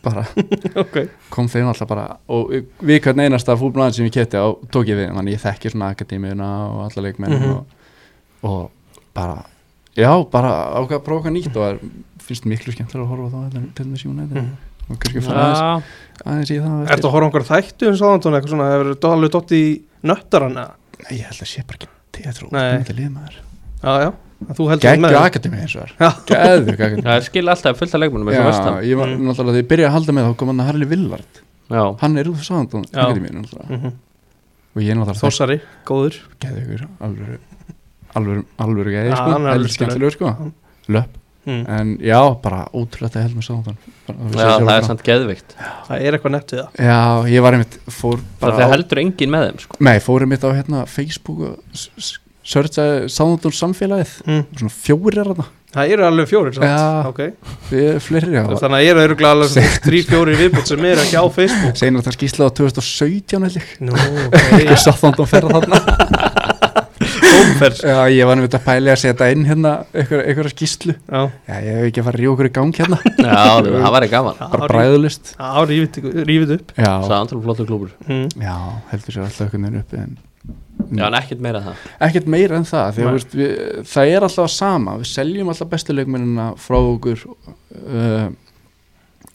bara
[laughs] Ok
kom þeim alltaf bara og við hvern einasta fútbol manager sem ég kefti á tók ég við þannig ég þekki svona akademiuna og alla leikmenn
Mhm.
og, og bara já bara ákvað að prófa eitthvað nýtt og það er- finnst miklu skemmtilega að horfa á þá heldur en til með síðan
mm
mm. og kannski fara aðeins,
Já,
aðeins í það á
Ertu
eftir.
að horfa á einhverja þættu um sáhandum eitthvað svona Hefur þú alveg dótt í nöttarana?
Nei, ég held að sé bara ekki teatrú
Nei. Já, já En Þú heldur með
geggju
þeim.
akademi eins og
[laughs] Já.
það geggju akademi
það skil alltaf fullt af leikmennum eins og
Já,
vestan
ég var
Mm.
náttúrulega þegar ég byrjaði að halda með þá kom hann að Harli Villard
Já,
hann er um úr sáðan
Já.
og
Mhm.
ég er náttúrulega þess
Þórsari, góður
gæði ykkur alvöru alvöru, alvöru gæði
Já,
sko,
hann er alveg
heldur skemmtilegur sko
Mm.
löpp,
mm.
en já, bara ótrúlega held með sáðan
já það er samt geðvikt
Það er eitthvað nett við það
já, ég var einmitt fór
Það
bara
þegar
á,
heldur engin með
[laughs]
þeim sko.
nei, fór einmitt á hérna Facebook og s- s- searchaði sáðan samfélagið
mm.
svona fjórir þarna,
Það eru alveg fjórir samt.
Mhm. Já.
Ok.
við fleiri já.
Þannig að ég er öruglega alveg svona þrý fjóri viðbútt sem er ekki á Facebook
seinast að skýsla á 2017 held ég
[laughs] Nú, ok
sáðan ferða
[laughs]
þarna
Ómferð
Já, ég var nefnilega að pæli að setja inn hérna einhver- einhverja skýslu.
Já,
Já, ég hef ekki að fara að ríða okkur í gang hérna,
[laughs]
Já, það væri gaman
bara bræðulist.
Já, rífið, rífið upp
Já,
Sáðan til flottur klúbur
mm.
já, heldur sér alltaf einhvern veginn uppi en Mm.
Já, en ekkert meira en það
ekkert meira en það, því
Nei.
að veist, við, það er alltaf sama, við seljum alltaf bestu leikmennina frá okkur, uh,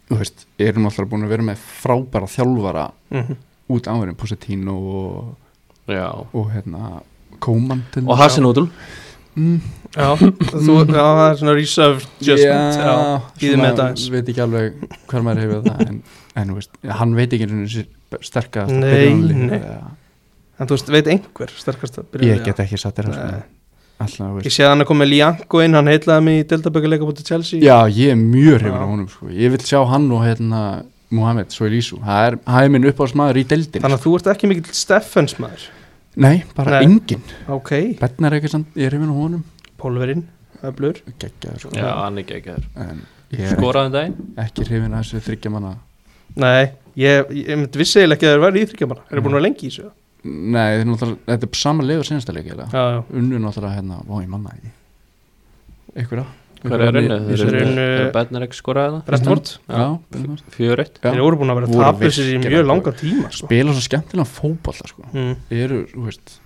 þú veist, erum alltaf búin að vera með frábæra þjálfara
Mm.
út áverðin, Positino og,
Já
og hérna, Kóman til
Og Hasinútul
Mm,
Já, þú, já, það er svona reserved judgment Já, býðum með þetta aðeins.
veit ekki alveg hvað maður hefur það en, en þú veist, hann veit ekki einu sinni sterkast
Nei, nei.
ja.
En þú veist, veit einhver sterkast að byrja
ég get ekki satt þér
Nei.
alltaf, þú
Ég
veist
sé að hann er komið Lianko inn, hann heitlaði mig í Deltabögguleika bútið Chelsea
já, ég er mjög hrifin
Já.
á honum sko. ég vil sjá hann og hérna Mohamed Soilísu, það er, það er minn uppáðsmaður í deildin
Þannig að þú ert ekki mikill Steffens maður
nei, bara
Nei.
enginn
Ok,
Bennar ekki samt, ég er hrifin á honum
Pólverinn, öflur
geggjaður sko.
Já, hann er geggjaður
en ég er
Skoraðan daginn
ekki hrifin að þessu þryggja manna
Nei, ég, ég myndi vissi eiginlega ekki að þeir væri í þryggjamanna Þeir eru búin að vera lengi í þessu Já,
nei, þetta er náttúrulega- þetta er sama legu senasta leik eiginlega.
já,
unnu náttúrulega hérna, ó ég manna ekki einhverja
Hver er unnu?
Þeir
Þeir
eru unnu-
eru Bennir ekki skoraðið það
Brentford
já,
Já.
Brentford.
Fjör eitt
Já.
Þeir eru búin að vera að
Voru
tapa þessu í
virkilega
mjög langa tíma sko.
spila svo skemmtilega fótballa sko.
mm.
eru, þú veist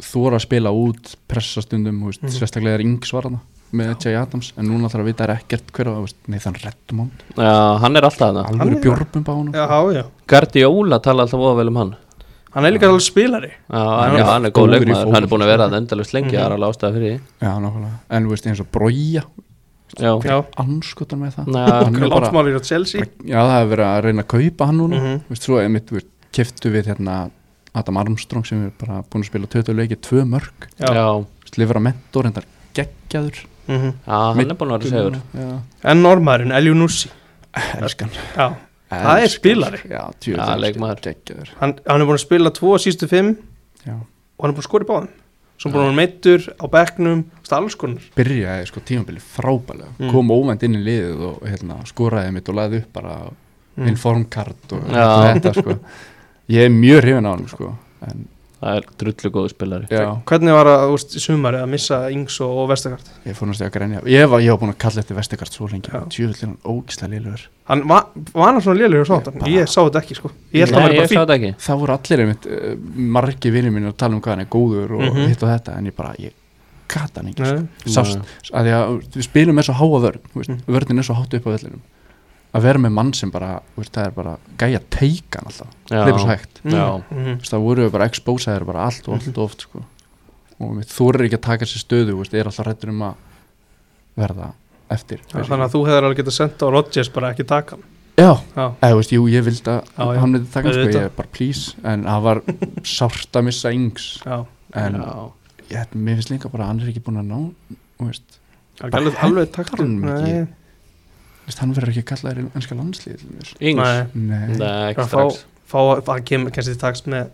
þóra að spila út, pressa stundum þú veist,
Mhm.
sérstaklega er yngsvarana með Jay Adams, en núna þarf að vita er ekkert hver á, þú veist, Nathan Redmond
Já, hann er alltaf það
Hann
alveg
er-
björnum á honum
Já,
sko.
já
Guardiola tala alltaf voða vel um hann
Hann er líka alveg spilari
Já, hann,
Hann
já,
er
hann er
góður
góð
í
leikmaður, hann er
fótbolta.
búin að vera það endalust lengi, það er alveg ástæða fyrir
já, nákvæmlega, en þú veist, eins og brója
því Já,
Já,
anskotar með það
Nei,
Hann er
hann er
bara-
landsmálir á Chelsea
já, það hefur verið að reyna að kaupa hann núna
Mhm.
þú veist, svo einmitt, þú veist, keftu við hérna Adam Armstrong sem er bara búin að spila 20 leiki, 2 mörg,
Já.
já,
slifur að mentor en það geggjaður
Mhm.
já, hann er búin að vera segur
já,
En normaðurinn, Eljunussi
elskan
Já, Það er spilari.
Já,
Já,
tjóðan
leikmaður.
Geggjaður
hann, hann er búin að spila tvo sístu fimm
Já.
og hann er búin að skora í báðum svo búin að hann meittur á bekknum alls konar
Byrjaði sko tímabili frábælega
Mm.
Kom óvænt inn í liðið og hérna, skoraði mitt og laði upp bara
Mm.
informkart og
Já.
þetta sko Ég er mjög hrifin á hann sko en,
Það er drullu góðu spilari
Já,
hvernig var það úrst í sumari að missa Ings og, og Vestakart
ég fór náttúrulega að grenja Ég var, ég var búin að kalla eftir vestekart svo lengi
Já.
Tjóðan hann ógislega liðlegur
hann va- var hann svona lélegur sátt
Ég bara-
ég sá þetta ekki sko ég held að
Nei,
hann er
ég
bara
sá
fín
þetta ekki
Það voru allir einmitt uh, margi vinir mínu að tala um hvað hann er góður og
Mhm.
hitt og þetta en ég bara, ég gata
sko.
hann ekki sko.
Nei.
sást, að því að við spilum með svo háa vörn þú veist,
Mm.
vörnin er svo hátt upp á vellinum að vera með mann sem bara, þú veist, það er bara gæja teikan alltaf,
Já.
það er bara svo hægt
Mm.
Já.
Mhm.
Þú veist, það voru við bara expósaðir bara allt og allt og oft sko. og mitt þorir ekki að taka sér stöðu þú veist, er alltaf rættur um að verða eftir
Já, þannig að þú hefur alveg getað sendt á Rodgers bara ekki taka hann
já,
Já,
eða þú veist, jú, ég vildi að
Já, já.
hann myndi taka, hann, sko,
Auðvitað.
ég bara please en það var sárt að missa yngs
já
en
Já.
ég, mér finnst líka bara að hann er ekki búin að ná þú veist,
Það er ekki
Bara
alveg, alveg taktur
hann ekki.
Nei,
þú veist, hann verður ekki að kalla þér ennska landslið
Ings
nei
Nei, Nei.
Nei, ekki
Bara
strax
Fá, það kemur kannski til takst með,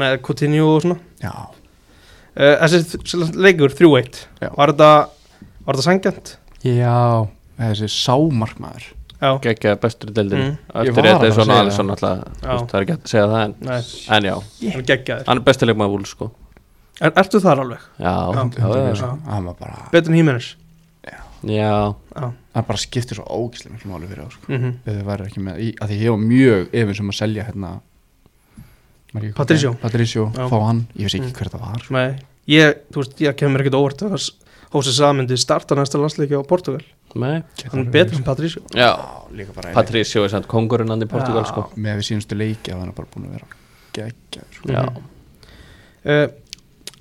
með Coutinho og svona
já,
uh, Þessi þ- leikur 3-1
Já.
Var þetta, var þetta sangjant?
já þessi sámarkmaður
Já,
Gekka bestur deildin
Mm.
Ég
Eftir
var
þetta
að
er svona
segja
alveg
það.
svona alltaf
Já.
Það er ekki hægt að segja það en,
nei,
en já,
hann geggjaður
hann er bestileg maður vúl sko
er, Ertu þar alveg?
Já,
Hundrað
já,
prósent,
já,
já.
sko. hann var bara,
Betur en Hímenes?
já.
Já,
hann bara skipti svo ógislega miklu máli fyrir á sko.
mhm
ef þið væri ekki með, í, að því ég var mjög efins um að selja hérna maður ekki hvað
Patricio.
það er, Patricio,
Já.
fá hann, ég veist ekki
Mm.
hver það var sko.
Nei, ég, þú veist, ég kemur ekkert óvart að Hósi Samyndi starta næsta landsleiki á Portugal
Nei.
Gæti
Hann er
alveg
betur
verið,
en Patrísio
já.
sko. líka bara Patri
Patricio er sann kongurinn hann í Portugal
Já.
sko
með við sínustu leiki að hann er bara búin að vera geggjaður sko.
Já,
uh, Mhm.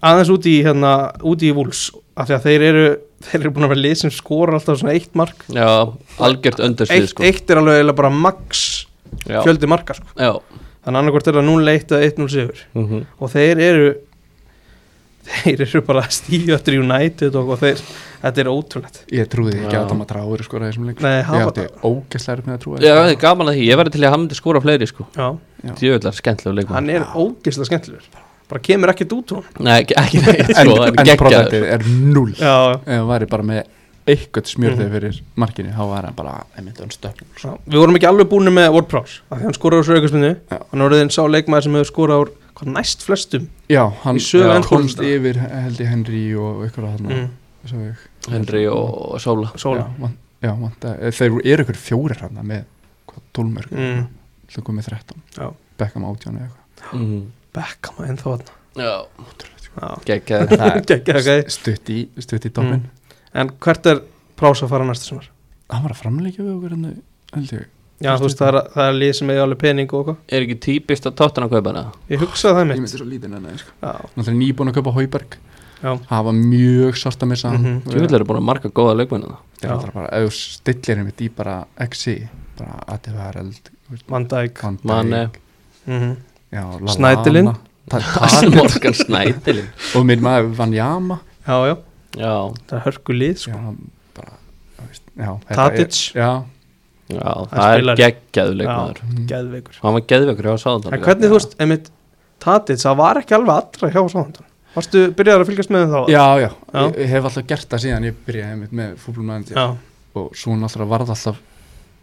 Aðeins úti í, hérna, úti í Wolves af því að þeir eru, þeir eru búin að vera lið sem skora alltaf svona eitt mark
já, algjört öndarsvið
Eitt,
sko
eitt er alveg eiginlega bara max
Já,
fjöldi marka sko.
já
þannig annarkvort er það 0-1 eða 1-0 sigur
mhm.
og þeir eru þeir eru bara stíðjöttur United og, og þeir, þetta er ótrúlegt
ég trúði ekki
Já.
að það maður tráður sko þessum leik
Nei,
ég
hafa,
átti ógæslega erfitt með að trúa
Já, það er gaman að því, ég verði til í að hann myndi skóra fleiri sko
já,
Já.
Djöðlar, skemmtilega leikmann
hann er ógeðslega skemmtilegur bara kemur ekkert út úr hún
Nei, ekki,
[laughs]
ekki neitt
en,
sko,
en
hann er geggjaður
prófættið er null ef
já,
hann væri bara með eitthvað smjörðið
Mhm.
fyrir markinu þá var hann bara, ég myndi hann stöfn
já, við vorum ekki alveg búinu með WordPress af því hann skoraði úr svo aukastminu
Já.
hann voruð einn sá leikmaður sem hefur skorað úr hvað næst flestum
já, hann
Í sögu
já,
ennþá
komst
þetta.
yfir held ég Henry og eitthvað þarna
mm.
svo ég
Henry og Sóla
sóla
Já, van, já vanta, eh, þeir eru ykkur fjórir hann með hvað, 12 mörg
Mm.
svo komið 13,
Já.
Beckham 18 eða eitthvað
Mhm.
Beckham ennþá hann
Já,
Já, [laughs]
geggjaður
Geggjað, ok.
stutt í, stutt í doppin
Mm. En hvert er Prás að fara næsta sumar?
hann var að framleika við okkur henni held ég,
Já, þú veist, það er, það er lið sem er alveg pening og eitthvað.
Er ekki típist að tóttan að kaupa hana?
Ég hugsaði það
ég
mitt.
myndi svo lítið henni sko.
Já,
náttúrulega nýbúin að kaupa Hauberg
já,
það var mjög sárt að missa hann
Mhm.
Við-
Djöðlar eru búin að marga góða leikmennu það
þetta er alltaf bara, ef þú stillir henni í bara XI, bara ATVRL
Van Dijk.
Van Dijk,
Mane.
Mhm.
já, Lallana,
Snædilinn. [laughs]
Ta- Ta-
[laughs] Morgan Snædilin
og minn maður Van Jama
Já, já,
Já,
það er hörku lið, sko.
já, hann bara, þú veist, já, þetta er-
Tadic.
já,
Það
já, það er
spilar-
geggjaður leikmaður
mhm.
Geðveikur.
Hann var geðveikur, ég var sáðan
En hvernig, þú veist, einmitt, Tadic, það var ekki alveg allra hjá sáðan. Varstu, byrjaður að fylgjast með þeim þá?
Já, já,
Já.
ég hef alltaf gert það síðan ég byrjaði einmitt með fútbolmæðandi
Já,
og svo náttúrulega varð alltaf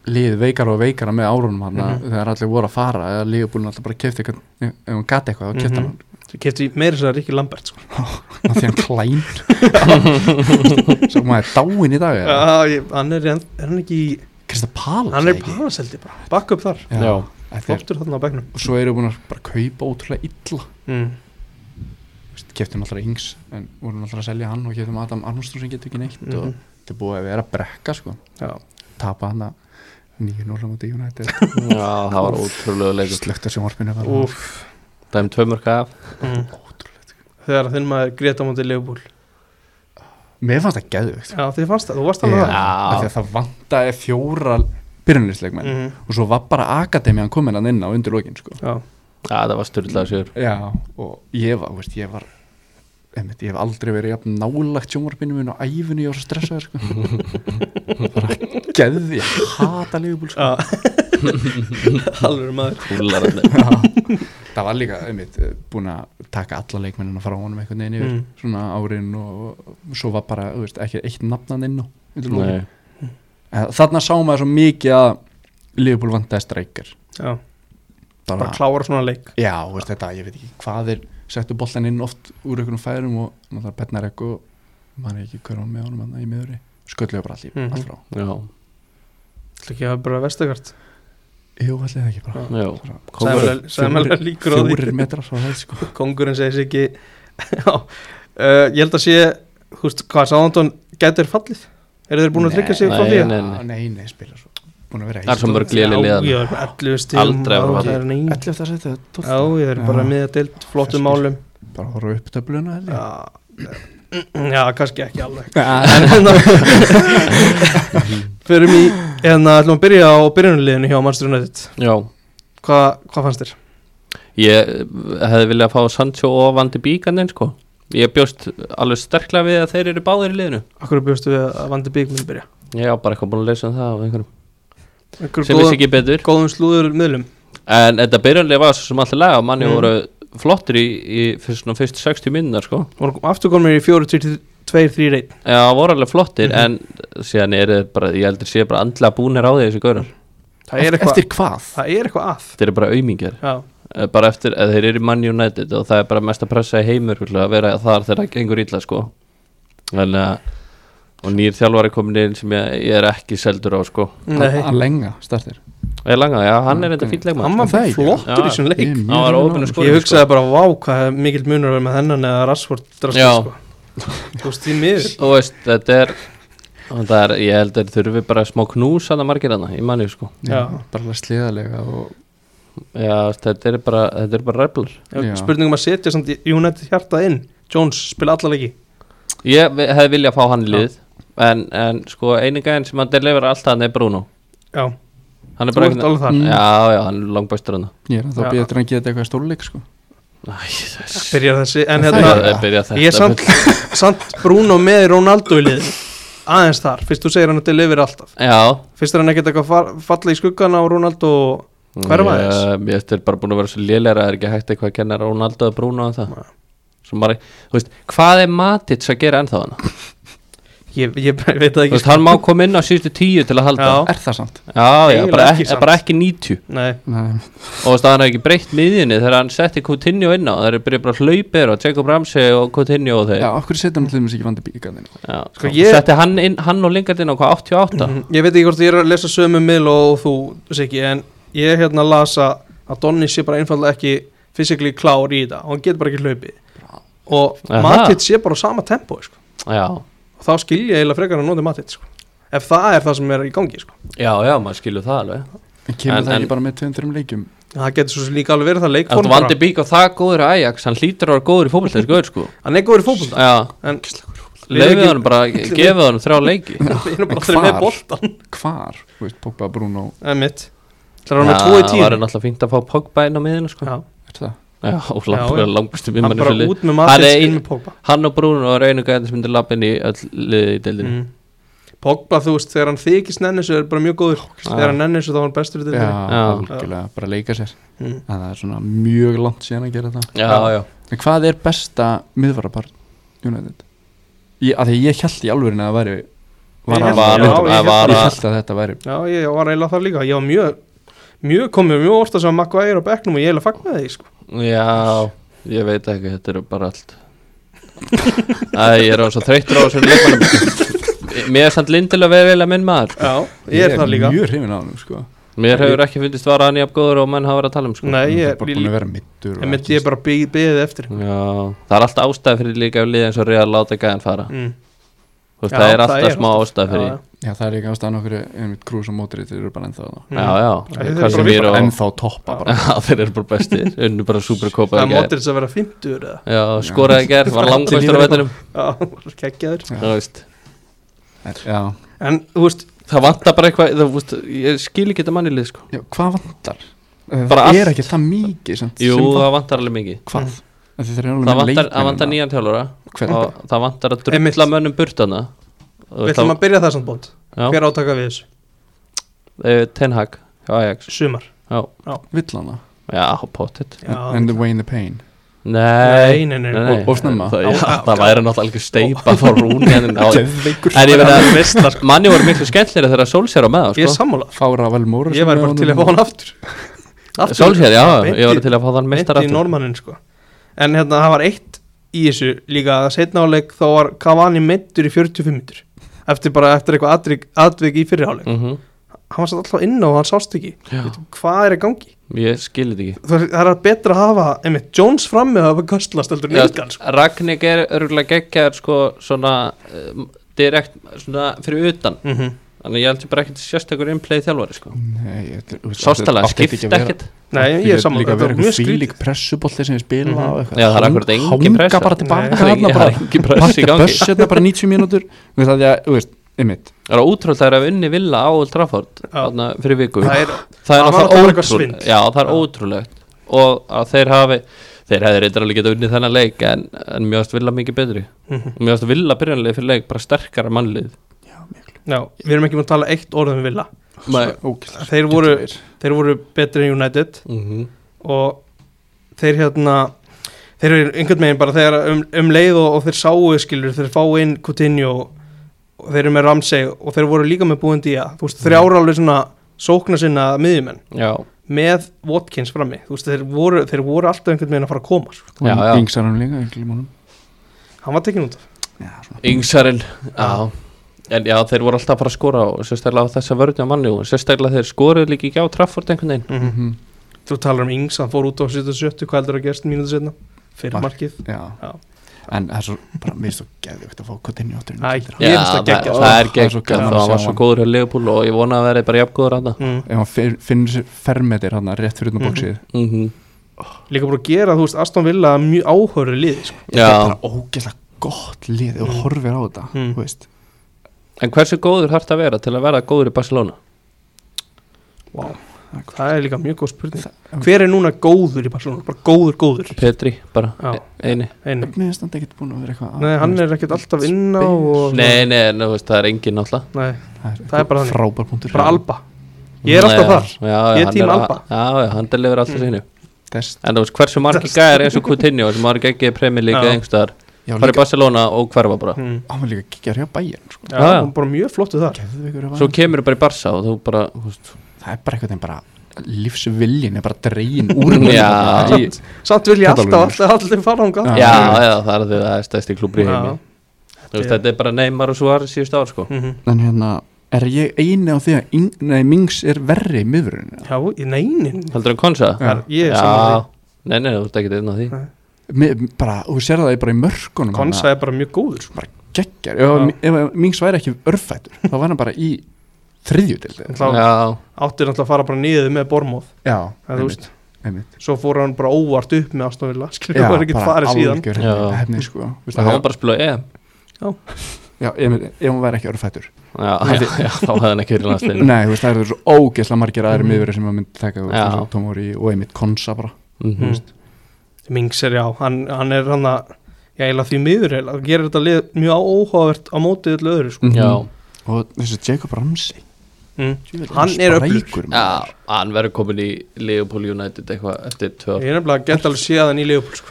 lið veikara og veikara með árunum hann
Mhm.
þegar allir voru að fara eða liðbúlin alltaf bara kefti eitthvað ef hann gati eitthvað, þá kefti
Mhm.
hann
þú kefti meira sér að Ríkki Lambert, sko.
hann því hann klæn
[laughs]
svo maður er dáin í dag eða?
Já, ég- hann er, hann er hann ekki, í-
Krista Palas
hann er í palaseldi bara. Bakk upp þar.
Já,
Já.
þetta er-
Flottur þarna á begnum.
og svo eru búin að bara kaupa ótrúlega illa
Mm.
kefti hann alltaf yngs en voru alltaf að selja hann og kefti hann Adam Armstrong sem getur ekki neitt og
Mhm.
þetta er búið að vera brekka sko
Já.
tapa hann að 9-0 á móti United
Já, það var ótrúlega leikur
slögt á sjónvarpinu bara.
Úff.
Dæmi tvö mörg af
Mm. Þegar þinn maður grét á móti Leopold.
mér fannst það geðvögt
Já, þið fannst það, þú varst alveg það.
yeah. það vantaði fjóra byrjunlisleikmenn
Mhm.
og svo var bara akademian komin hann inn á undir lokin sko.
Já.
Já, það var styrlaður sigur
já, og ég var, þú veist, ég var einmitt, ég hef aldrei verið jafn nálagt sjónvarpinu minn og æfinu ég var svo stressaður
[laughs]
sko. bara geði ég hata leifbúl sko.
Já Alveg maður
Húlararnir
Já. það var líka einmitt, eh, búin að taka alla leikmennina frá honum einhvern veginn yfir
Mm.
svona árin og, og svo var bara, þú veist, ekki eitt nafnan inn á undir lokin
Nei,
En Eh, þarna sá maður svo mikið að Liverpool vantaði streikar
Já, bara klára svona leik
Já, veist þetta, ég veit ekki hvað þeir settu boltan inn oft úr einhvernum færum og náttúrulega Petnarek og maður ekki hver hann með honum hann í miðurri skölluðu bara allir,
Mhm.
allt frá
já,
Það ekki að hafa bara vestegart
Jú, allir það ekki bara
já
Bara
Kóngurinn.
Sæmlega [laughs] líkur á
Fjórir
því
metrar frá það sko
Kongurinn segir sig ekki [laughs] Já, uh, ég held að sé Þú veist, hvað sáðandón gætir fallið? Eru þeir búin að tryggja sig frá
nei,
því?
nei.
Já, Nei, nei, spila svo Búin að vera
Það er svo mörg léleg
Já,
liðan
ég er bara 11 stíl
Aldrei voru
það er ný Já,
Ætli eftir að setja þetta
ég er bara miða deilt flottum
Flestir.
málum
Bara horfa upp töfluna held ég.
Já, [laughs] já, kannski ekki alveg
Ah,
En, en, hérna, Förum í, en það ætlum að byrja á byrjunarliðinu hjá Manchester United
Já,
Hva, Hvað fannst þér?
ég eh, hefði viljað fá Sancho og Vandi Bíkandinn sko Ég bjóst alveg sterklega við að þeir eru báðir í liðinu
Akkur bjóstu við að Vandi Bík myndi byrja
Ég á bara eitthvað búin að leysa um það af einhverjum
Akkur
sem vissi
góðum,
ekki betur
góðum slúður miðlum
En þetta byrjanlega var svo sem alltaf laga manni
Mm.
voru flottir í, í fyrst, svona, fyrst 60 minnar sko
Voru aftur komið í 4-2-3-1
Já, voru alveg flottir
Mhm.
en síðan er þetta bara, ég heldur sé bara andla búnir á því þessi gaurar
Það er eitthvað
Eftir hvað?
Það er eitthvað að
Þeir eru bara aumingar
Já,
Eh, bara eftir að þeir eru í Man United og það er bara mest að pressa í heimur örugglega, að vera þar þegar það gengur illa sko en að og nýr þjálfari komin inn sem ég, ég er ekki seldur á sko
nei
Að lenga startir
ég langa, já hann er þetta
Ok.
fýll leikmann
Hann
sko.
var
Það er ekki.
flottur í
Já.
þessum leik
hann var óöfnur sko
Ég hugsaði bara, vá, hvað er mikill munur að vera með hennan eða Rashford drastur,
Já.
sko. Þú veist, því miður
þú veist, þetta er, það er ég held að þurfi bara smá knús að það margir hana í manni sko
Já.
Bara sliðalega og
já, þetta er bara, þetta er bara ræflur
Já.
Já.
Spurningum að setja samt í United hjartað inn Jones spila alla leiki
ég vi- hefði viljað fá hann í lið en, en sko eininga enn sem hann delivera alltaf hann er Bruno
Já,
hann
þú
er bara hérna-
ert alveg þar
Mm.
já, já, hann er langbæstur hann
Ég er að
Já.
það betur en geta eitthvað stórleik sko
Æ,
Byrjar þessi, en
Það
hérna
er-
Ég byrja þetta
Ég er samt, [laughs] samt Bruno með Ronaldo í liðin Aðeins þar, fyrst þú segir hann að delivera alltaf
Já
Fyrst er hann ekkert eitthvað far- falla í skuggan á Ronaldo og- Hverfa
Ég- eh,
aðeins.
Ég veist, er bara búin að vera svo lélæra Það er ekki hægt eitthvað að kenna Ronaldo að brúna á það
Nei.
Svo bara, þú veist, hvað er Matits að gera ennþá hana?
Ég, ég [laughs] bara veit það
Þú
ekki sko.
veist, hann má koma inn á síðustu tíu til að halda
Já.
Er það samt?
já, já
Eiginlega
bara,
ekki
ekki,
samt.
bara ekki 90
Nei,
Nei,
Og þú veist, hann hefur ekki breytt miðjunni Þegar hann setti Coutinho inn á Það eru byrjað bara hlaupir og Jacob Ramsey og Coutinho og þeir
Já, okkur setja hann til þess ekki vandi bíkandinn
Já.
Sko, ég-
Setti hann, inn, hann og Lingard inn á hvað, 88
Mhm. Ég veit ekki hvort ég er að lesa sömu miðl og þú Siggi, en ég hérna lasa að Donni sé bara einfallega ekki fysikli klár í þetta og hann getur bara ekki hlaupið og
Aha.
Matit sé bara á sama tempo sko.
Já,
og þá skilja ég eiginlega frekar að nota Matit sko. ef það er það sem er í gangi sko.
já, já, maður skilur það alveg
En kemur
En-
það
en-
ekki bara með 200 leikjum
það getur svo sem líka alveg verið það
En
leikform
þú vandi bík og það góður í Ajax Hann hlýtur að vera góður í fótbolta, þessi gaur, sko
hann er góður í fótbolta
Já,
en
Leifið hann bara, gefið hann þrjá leiki
við erum bara
En
allir með
hvar?
boltan
Hvar? Þú veist, Pogba, Bruno,
það er mitt það er hann með 2 í
það var
10
hérna. náttúrulega fínt að fá Pogba inn á miðinu sko.
Já.
er það?
Já, og lang-
Já, já.
langbæstu
hann
miðmann í
bara
þessu liði.
út með
Hann
Matit
er
inn
ein-
með Pogba
Hann og Bruno er einu gæðin sem myndir lappa inn í öll liðið í deildinu
mm. Pogba þú veist þegar hann þykist nennisu er bara mjög góður þegar hann nennisu þá er hann bestur í
Já,
þetta
algjörlega, bara leika sér
Mm.
En það er svona mjög langt síðan að gera það
Já, já,
En hvað er besta miðvarapar United? Ég, að því ég held í alvörinu að það væri
Ég
Vara-
held-
Vara-
já, ég
Vara-
held-
Ég
Vara-
held að þetta væri
Já, ég var eiginlega þar líka Ég var mjög, mjög komið mjög orta sem að Maguire á bekknum og ég eiginlega fagnaði því sko.
já Ég veit ekki, þetta eru bara allt Æ, ég er á svo þreyttur á þessum leikmannum Mér er samt lindilega verið eiginlega minn maður
Já, ég er þar líka
mjög hrifin á hann sko.
Mér hefur ekki fundist vara hann jafn góður og menn hafa verið að tala um sko.
Nei,
Ég
ég
er bara búin að vera mittur
Ég myndi ég bara byggði byggðið eftir
Já, það er alltaf ástæð fyrir líka af liðið eins og reyða að láta gæðan fara
mm.
Þú veist,
Já,
Það er
það
alltaf
er
smá
Já,
ástæð fyrir
já.
Já, það er líka ástæðan okkur einmitt krús og mótrið þeir eru bara ennþá þarna.
Mm.
Já, já,
Þeir eru
hvað
bara
sem
við
ég er
bara
og
ennþá toppa bara
[laughs] Já, þeir eru bara bestir, unnu bara superkópa
Það er mótrið að vera 50 eða
Já, skoraði í gerð, var langbæstur á
Allir
vettinum
Já, [laughs] kekkjaður
Já.
Þú veist,
Já,
En, þú veist,
Það vantar bara eitthvað, þú veist, ég skil ekki þetta mannilið sko
Já, hvað vantar?
Bara
það er
allt.
ekki það mikið sem,
Jú,
sem
það vantar alveg mikið
Hvað? Það,
Það vantar, það vantar nýjan þjálfara
Hvern?
og það vantar að
Einmitt.
drulla mönnum burtana
við ætlum að byrja það samt bótt
Já,
Hver átaka við þessu?
Tenhag, hjá Ajax
Sumar
Já,
Villana
já, pottit
Já,
And the way in the pain
Nei,
Nei, nei, nei, nei.
nei.
Og- og snemma.
Það,
Já,
já,
já,
það væri náttúrulega algjör
[laughs]
steipa frá rúni en á
Geðveikur
En ég veit
Það er
að
veistlar sko.
manni voru miklu skemmtilega þegar Solskjær á með
Ég er
það sko
sammála
Fára vel móra
Ég væri bara til að fá hann
[laughs]
aftur Aftur. sko.
Solskjær, já,
Beint
ég
í-
voru til að fá þann
meint
meistar
í normannin sko en hérna það var eitt í þessu líka að setna áleik þá var Cavani meittur í 45 minnur eftir bara eftir eitthvað atvik, atvik í fyrirháleik
mm
hann var satt alltaf inn og hann sást ekki Veitum, hvað er í gangi?
Ég skil þetta ekki
Það er- það er betra að hafa einmitt Jones fram með að hafa köstlast heldur
Já,
nýtgan sko.
Ragnik er örgulega geggjaður sko svona uh, direkt svona fyrir utan
mm
þannig ég held ég bara ekkert sérstakur innplay þjálfari sko
Sástalega
sástalega skipt ekkert
Nei, ég er saman
Líka
þetta
verið
var
eitthvað
mjög skrítið
fílík pressubolti sem við spila
Mhm.
á
Já, það er akkurat engin pressa.
Hanga bara
Nei,
tilbaka
það er
þarna
engin-
bara
það er engin pressa í
Parti
gangi.
buss hérna bara 90 mínútur Þú veist að ég, þú veist einmitt
Það er ótrúlega að hafa unni villa á Old Trafford
Já.
þarna, fyrir viku
það er
það
Það
er
var
náttúrulega
bara eitthvað
ótrúlegt
svindl.
já það er
Já.
ótrúlegt og að þeir hafi þeir hefði reyndar alveg getað unnið þennan leik en, en mjögast vilja mikið betri
Mhm.
mjögast vilja byrjanlega fyrir leik bara sterkara mannlið
já, við erum ekki múin að tala eitt orð um Villa
Nei.
ógeðslega
þeir voru,
skemmtilegir.
þeir voru betri en United
mm -hmm.
og þeir hérna þeir eru einhvern veginn bara þegar um, um leið og, og þeir sáu skilur, þeir fá inn Coutinho og þeir eru með Ramsey og þeir voru líka með Buendía þú veist, þrjára alveg svona sókna sinna miðjumenn
já,
með Watkins frammi þú veist, þeir voru, þeir voru alltaf einhvern veginn að fara að koma sko.
Já, já.
og yngsar hann líka einhverjum honum.
hann var tekin út af
já, svona.
yngsarinn já. en já þeir voru alltaf að fara að skora og sérstaklega á þessa vörðni á manni og sérstaklega þeir skoruðu líka ekki á Trafford einhvern veginn
mm
Mhm.
þú talar um Ings, hann fór út á 77 hvað heldur að gerst mínútu setna fyrir
Mark.
markið Já.
já. en það er svo bara mér er svo geðvikt að fá Coutinho áttur
Æ,
ef
Mér finnst það
það,
geggjað.
það er
Það er svo
geggjað
gaman að
og hann
sjá
var svo
hann.
góður hjá Leopold og ég vona að verði bara jafngóður hann
mm.
hann fi- finnur sér fermetir hann rétt fyrir utan
Mhm.
bóksið
mm -hmm.
líka bara að gera, þú veist, Aston Villa er mjög áhörðu liði sko.
þetta er
Já,
bara ógeðslega gott lið og horfir á þetta
Mm.
þú veist
en hversu góður þarf það að vera til að verða góður í Barcelona?
wow. það er líka mjög góð spurning hver er núna góður í Barcelona, bara góður góður
Petri, bara,
Já.
e- eini
Einu.
Mér finnst hann ekkert búin að vera eitthvað að-
Nei, hann er ekkert alltaf inn á og...
Nei, nei, nei, þú veist, það er engin náttúrulega
Nei,
það
er bara þannig.
frábær punktur
bara Alba Ég er alltaf þar
já, já,
Ég er
hann
tím
að-
Alba. Mm.
Já, já, hann delifir alltaf sínu
Þess,
En þú veist, hversu margir gæðir eins og Coutinho sem var ekki í Premier League
Já.
eða einhverstaðar
já,
Fara í
líka,
Barcelona og hverfa bara
mm.
hann var líka að kíkja hér hjá bæjarn sko.
Já,
Ah, Já, já.
hún er bara mjög flottu þar
Geðveikur er
Svo
hann.
kemur bara í Barca og þú bara, þú veist
það er bara eitthvað þeim bara lífsviljin er bara dregin úr honum.
Já.
Í-
Samt vil ég alltaf,
Katalóníu.
alltaf, alltaf fara hún
Já.
Já, já, það er því að það er stæsti klúbri í heimi
Já.
Þú veist, þetta er bara Neymar og Suárez síðust ár, sko
Mhm.
en hérna er ég eini á því að Ing- nei, Mings er verri í miðurinn
Já, ég- nei, nei, nei.
Heldur hann Konsa?
Það er- Ég er
Já,
saman
nei, nei, þú veist ekki einn á því
Nei.
bara, og þú sér það bara í mörkunum
Konsa er bara mjög góður sko.
geggjar, ef, ef að Mings væri ekki örfættur, þá var hann bara í þriðjutildi
Þá-
Já,
Áttir náttúrulega að fara bara niður með Bormóð
já,
Það þú veist
einmitt.
Svo fór hann bara óvart upp með Aston Villa [laughs] Skiljum, það
Já,
var ekkert
bara
farið síðan
algjör
Já.
hefni sko Þú veist,
það
það
var bara að spila E EM
Já, ef, ef hún væri ekki örfættur
Já, já, [laughs] já, þá hefði hann ekki verið í
Mm.
landsliðinu
Nei, þú veist, það eru svo ógeðslega margir aðri miðverið sem að myndi taka þú veist,
Já.
eins og Tomori og einmitt Konsa bara
Mhm.
mm. Mings er já, hann, hann er hann að Já, eiginlega því miður eiginlega, það gerir þetta lið mjög óhugavert á mótið öllu öðru sko.
Já,
Og þessi Jacob Ramsey
mm.
djöfull,
Hann er öflugur.
sprækur,
Já,
maður.
hann verður komin í Leopold United eitthvað eftir tvö
Ég er nefnilega gett alveg séðan í Leopold sko.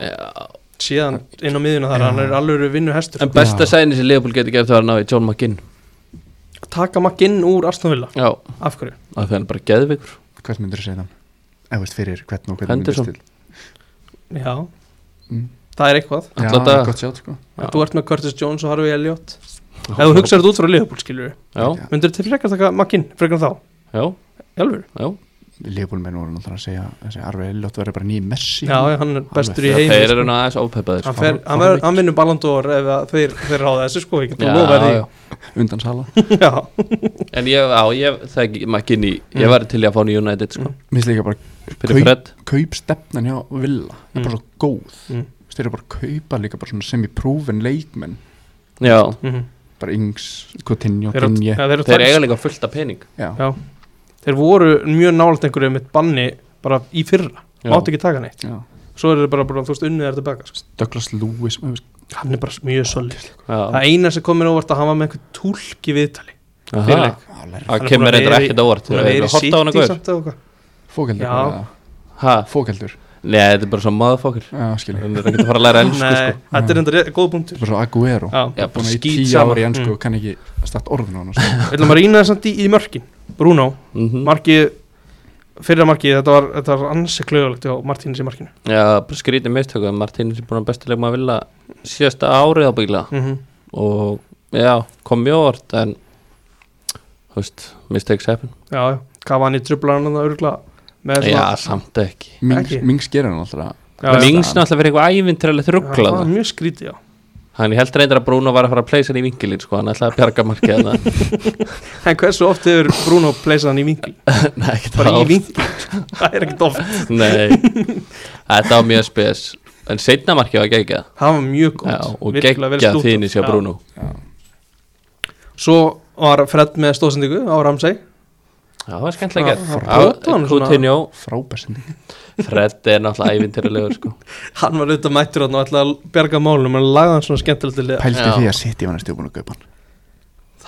ár
Séðan inn á miðuna þar,
Já.
hann er sko. alveg vinnu hestur
En besta sæni sem Leopold getur gert var að ná í John McGinn
Taka makinn úr Aston Villa,
Já,
af hverju?
af því hann er bara geðvikur
Hvern myndir þú segja þann? Eða veist fyrir hvern og hvern myndirðu
Henderson.
til
Já,
Mm.
það er eitthvað
Alla
Já, það
daga.
er gott sjátt sko
Já.
Þú ert með Curtis Jones og Harvey Elliot Ef þú hugsaður þetta út frá Leopold, skilur við
Já,
Já.
Myndur þetta frekar taka makinn, frekar þá?
já,
Jálfur?
já
Leifbólmenn voru náttúrulega að segja þessi Arvei Lott verið bara nýjum Messi
Já, já, hann er bestur í
Það
heimi
þeir
sko.
eru nú aðeins ópeppaðir
Hann,
sko.
fer, hann, ver, hann vinnur ballandór ef að þeir, þeir ráða þessu sko, ég getur lofa
já.
því
Undan Sala
Já,
En ég, já, ég þekki McGinn í Ég
Mm.
var til í að fá hann í United sko
Mér finnst líka bara
Fyrir Fred
kaupstefnan hjá Villa er bara
Mm.
svo góð
Mm.
Þú veist, Þeir eru bara að kaupa líka bara svona semi-proven leikmenn
Já,
Mhm.
bara Ings, Coutinho,
Þeir eru-
Ginje
ja, þeir eru
þeir
tækst-
eiga líka fullt af pening
Já,
Já. Þeir voru mjög nálægt einhverju með banni bara í fyrra,
Já.
máttu ekki taka neitt
já
Svo eru þeir bara, bara þú veist, unnið þær tilbaka sko.
Douglas Lewis þú veist,
Hann er bara mjög solid
Já,
Það eina sem kom mér óvart að hann var með einhver túlk í viðtali fyrir
Aha.
leik.
á, lær-
Hann
það
er
kemur
búinn að
eitthvað
vera í-
ekkert á óvart
Hún er
Þeir
verið
eru horta á hann
City
eitthvað
samt eða eitthvað
Fókeldur
Já.
bara,
Hæ,
Fókeldur
nei, þetta er bara svo maðurfokkur
Já, skilja
Þannig er ekki að fara að læra ennsku
Nei,
sko
þetta er enda góð punktur
Bara svo Aguero
Já,
Já,
Búin
bara
að í
skýt
tíu
saman
ári enn sko
Mm.
kann ekki stætt orðin á
[laughs]
hann sko.
við ætlum að rýna þessant í, í mörkin Bruno,
Mhm.
markið fyrra markið, þetta var, þetta var ansi klögulegt á Martínus í markinu
Já, bara skrítið mistöku en Martínus er búin að bestilegum að vilja síðasta árið ábygglega
mm
og já, kom mjög orð en þú veist, mistakes happen
Já, já, Cavani trublar hann það örgla með
Já,
svona
samt ekki
Mings,
Ekki.
Mings gerir hann alltaf
Já, já.
Mings náttúrulega fyrir eitthvað ævintrælega
Já, það var
þrugglað
mjög skrítið, já
Hann ég held reyndar að Bruno var að fara að pleysa hann í vingilin sko, hann ætlaði að bjarga markið
[laughs]
hann
En hversu oft hefur Bruno pleysað hann í vinkil?
Nei, ekki
Bara
það
í vinkil, [laughs] það er ekkert oft
Nei, þetta var mjög spes En seinna markið var geggjað
Það var mjög
Já,
gott
og
virkilega vel
geggjað
stútað.
þínu sér
Já.
Bruno
Svo var Fred með stóðsendingu á Ramsey
Já, það var skemmtilega
Já, það
gert
brota hann svona.
Coutinho,
frábærsending
Fred er náttúrulega ævintýralegur sko.
Hann var auðvitað mættur þarna og ætlaði að bjarga málunum en lagði hann svona skemmtilegt til liða
pælti
Já.
því að City var næstu búin að kaupa hann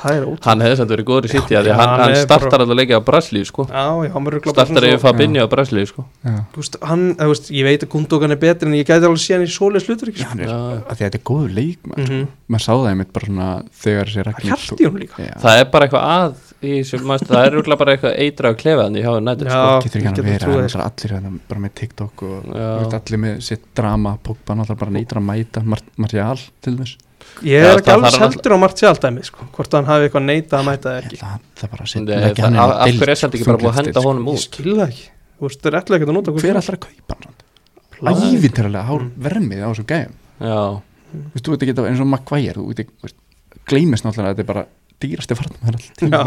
Það er ótrúlega
Hann hefði samt verið góður í City af því
Já,
að hann,
hann
hann
er
startar alltaf leikið á Braslíu sko.
Já, já, hann verður kloppa
Startar yfir Fabinho á Braslíu sko.
já.
Þú veist, hann, eh, þú veist, ég veit að Gundogan er betri en ég gæti alveg síðan í svoleiðs hlutur ekki
Já, hann er,
Já.
að því að þetta er góður leik maður,
Mhm.
maður sá það einmitt bara svona þegar þessi
Það er
Ragnar
hjart í honum líka
já,
Það er bara eitthvað að í sem, maður, Það er rúglega bara eitthvað eitrað að klefa hann í háðu nættir sko.
Já,
getur
ég
ekki hann
get
að
alveg
vera
trúað
hann
þessu.
er allir hann bara með TikTok og
Já.
þú veist, allir með sitt drama Pogba náttúrulega bara neytir að mæta Mar Marjál til þess
Ég
Já,
er ekki
það
alveg
þarf hann
seldur á Martial dæmi sko, hvort að hann hafi eitthvað neita að mæta eða
Ég
ekki
ætla að- það er bara að
Nei,
setja
það-
leggja hann inn
Af
á
af
deild,
hverju er þetta ekki bara búið að
þunglyndisdeild,
henda
sko.
honum
Ég
út
skil það ekki Þú veist, það er ætla ekkert að nota
hver ætlar að kaupa hann
Pláður.
ævintarilega
Mm.
hár vermið á þessum gæjum
Já,
Þú veist, þú veit ekki þetta eins og Maguire þú veit ekki, þú veist, gleymist náttúrulega að þetta er bara dýrasti farnum
Já,